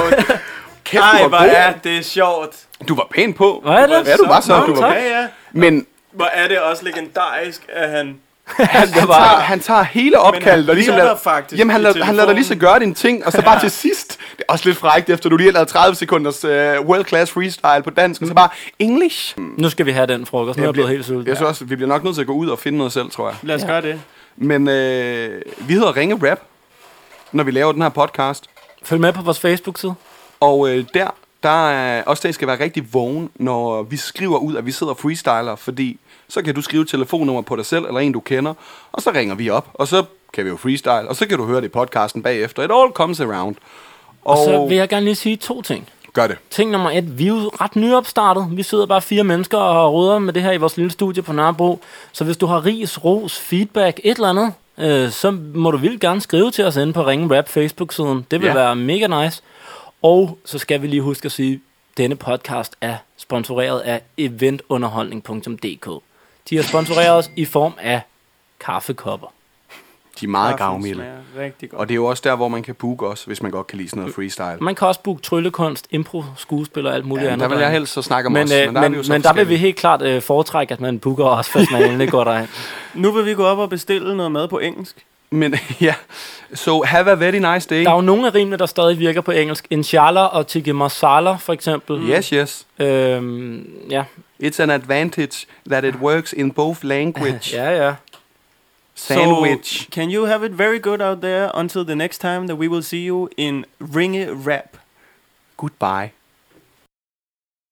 [SPEAKER 2] Kæft,
[SPEAKER 3] Ej,
[SPEAKER 2] du
[SPEAKER 3] hvor
[SPEAKER 2] var god.
[SPEAKER 3] er det sjovt.
[SPEAKER 2] Du var pæn på.
[SPEAKER 1] Hvad er det?
[SPEAKER 2] Ja, du var så.
[SPEAKER 1] Nå,
[SPEAKER 2] Du var
[SPEAKER 1] tak.
[SPEAKER 2] pæn.
[SPEAKER 3] Ja, ja.
[SPEAKER 2] Men
[SPEAKER 3] Hvor er det også legendarisk, at han
[SPEAKER 2] Han, han, tager, han tager hele opkaldet og ligesom
[SPEAKER 3] virker
[SPEAKER 2] lader,
[SPEAKER 3] faktisk
[SPEAKER 2] jamen, han,
[SPEAKER 3] i
[SPEAKER 2] lader, han lader dig lige så gøre din ting, og så bare til sidst, det er også lidt frækt, efter du lige har lavet 30 sekunders uh, world class freestyle på dansk, og så bare English.
[SPEAKER 1] Nu skal vi have den frokost, nu er jeg blevet helt sulten.
[SPEAKER 2] Jeg synes også, vi bliver nok nødt til at gå ud og finde noget selv, tror jeg.
[SPEAKER 3] Lad os
[SPEAKER 1] Ja.
[SPEAKER 3] ja. gøre det.
[SPEAKER 2] Men øh, vi hedder Ringe Rap, når vi laver den her podcast.
[SPEAKER 1] Følg med på vores Facebook-side.
[SPEAKER 2] Og øh, der, der er også der, I skal være rigtig vågen, når vi skriver ud, at vi sidder og freestyler, fordi så kan du skrive telefonnummer på dig selv, eller en du kender, og så ringer vi op, og så kan vi jo freestyle, og så kan du høre det i podcasten bagefter. It all comes around.
[SPEAKER 1] Og så vil jeg gerne lige sige to ting.
[SPEAKER 2] Gør det.
[SPEAKER 1] Ting nummer et, vi er jo ret nyopstartet. Vi sidder bare fire mennesker og råder med det her i vores lille studie på Nørrebro. Så hvis du har ris, ros, feedback, et eller andet, øh, så må du vildt gerne skrive til os inde på Ringen Rap Facebook-siden. Det vil
[SPEAKER 2] Ja.
[SPEAKER 1] ja. være mega nice. Og så skal vi lige huske at sige, at denne podcast er sponsoreret af eventunderholdning.dk. De har sponsoreret os i form af kaffekopper.
[SPEAKER 2] De er meget
[SPEAKER 1] Kaffen
[SPEAKER 2] gavmilde.
[SPEAKER 1] smager rigtig godt.
[SPEAKER 2] Og det er jo også der, hvor man kan booke os, hvis man godt kan lide sådan noget freestyle.
[SPEAKER 1] Man kan også booke tryllekunst, impro, skuespil og alt muligt
[SPEAKER 2] Ja, men
[SPEAKER 1] andet.
[SPEAKER 2] der vil jeg helst så snakke om
[SPEAKER 1] men,
[SPEAKER 2] os,
[SPEAKER 1] øh,
[SPEAKER 2] men der er
[SPEAKER 1] men,
[SPEAKER 2] vi jo så
[SPEAKER 1] men der vil vi
[SPEAKER 2] forskellige.
[SPEAKER 1] helt klart øh, foretrække, at man booker os, hvis man endelig går derind.
[SPEAKER 3] Nu vil vi gå op og bestille noget mad på engelsk.
[SPEAKER 2] Men ja, so have a very nice day.
[SPEAKER 1] Der er jo nogle af rimene, der stadig virker på engelsk. Inshallah og tikka masala, for eksempel.
[SPEAKER 2] Yes, yes.
[SPEAKER 1] Øhm, ja.
[SPEAKER 2] It's an advantage that it works in both language.
[SPEAKER 1] ja, ja.
[SPEAKER 2] Sandwich.
[SPEAKER 3] So, can you have it very good out there until the next time that we will see you in Ringe Rap.
[SPEAKER 2] Goodbye.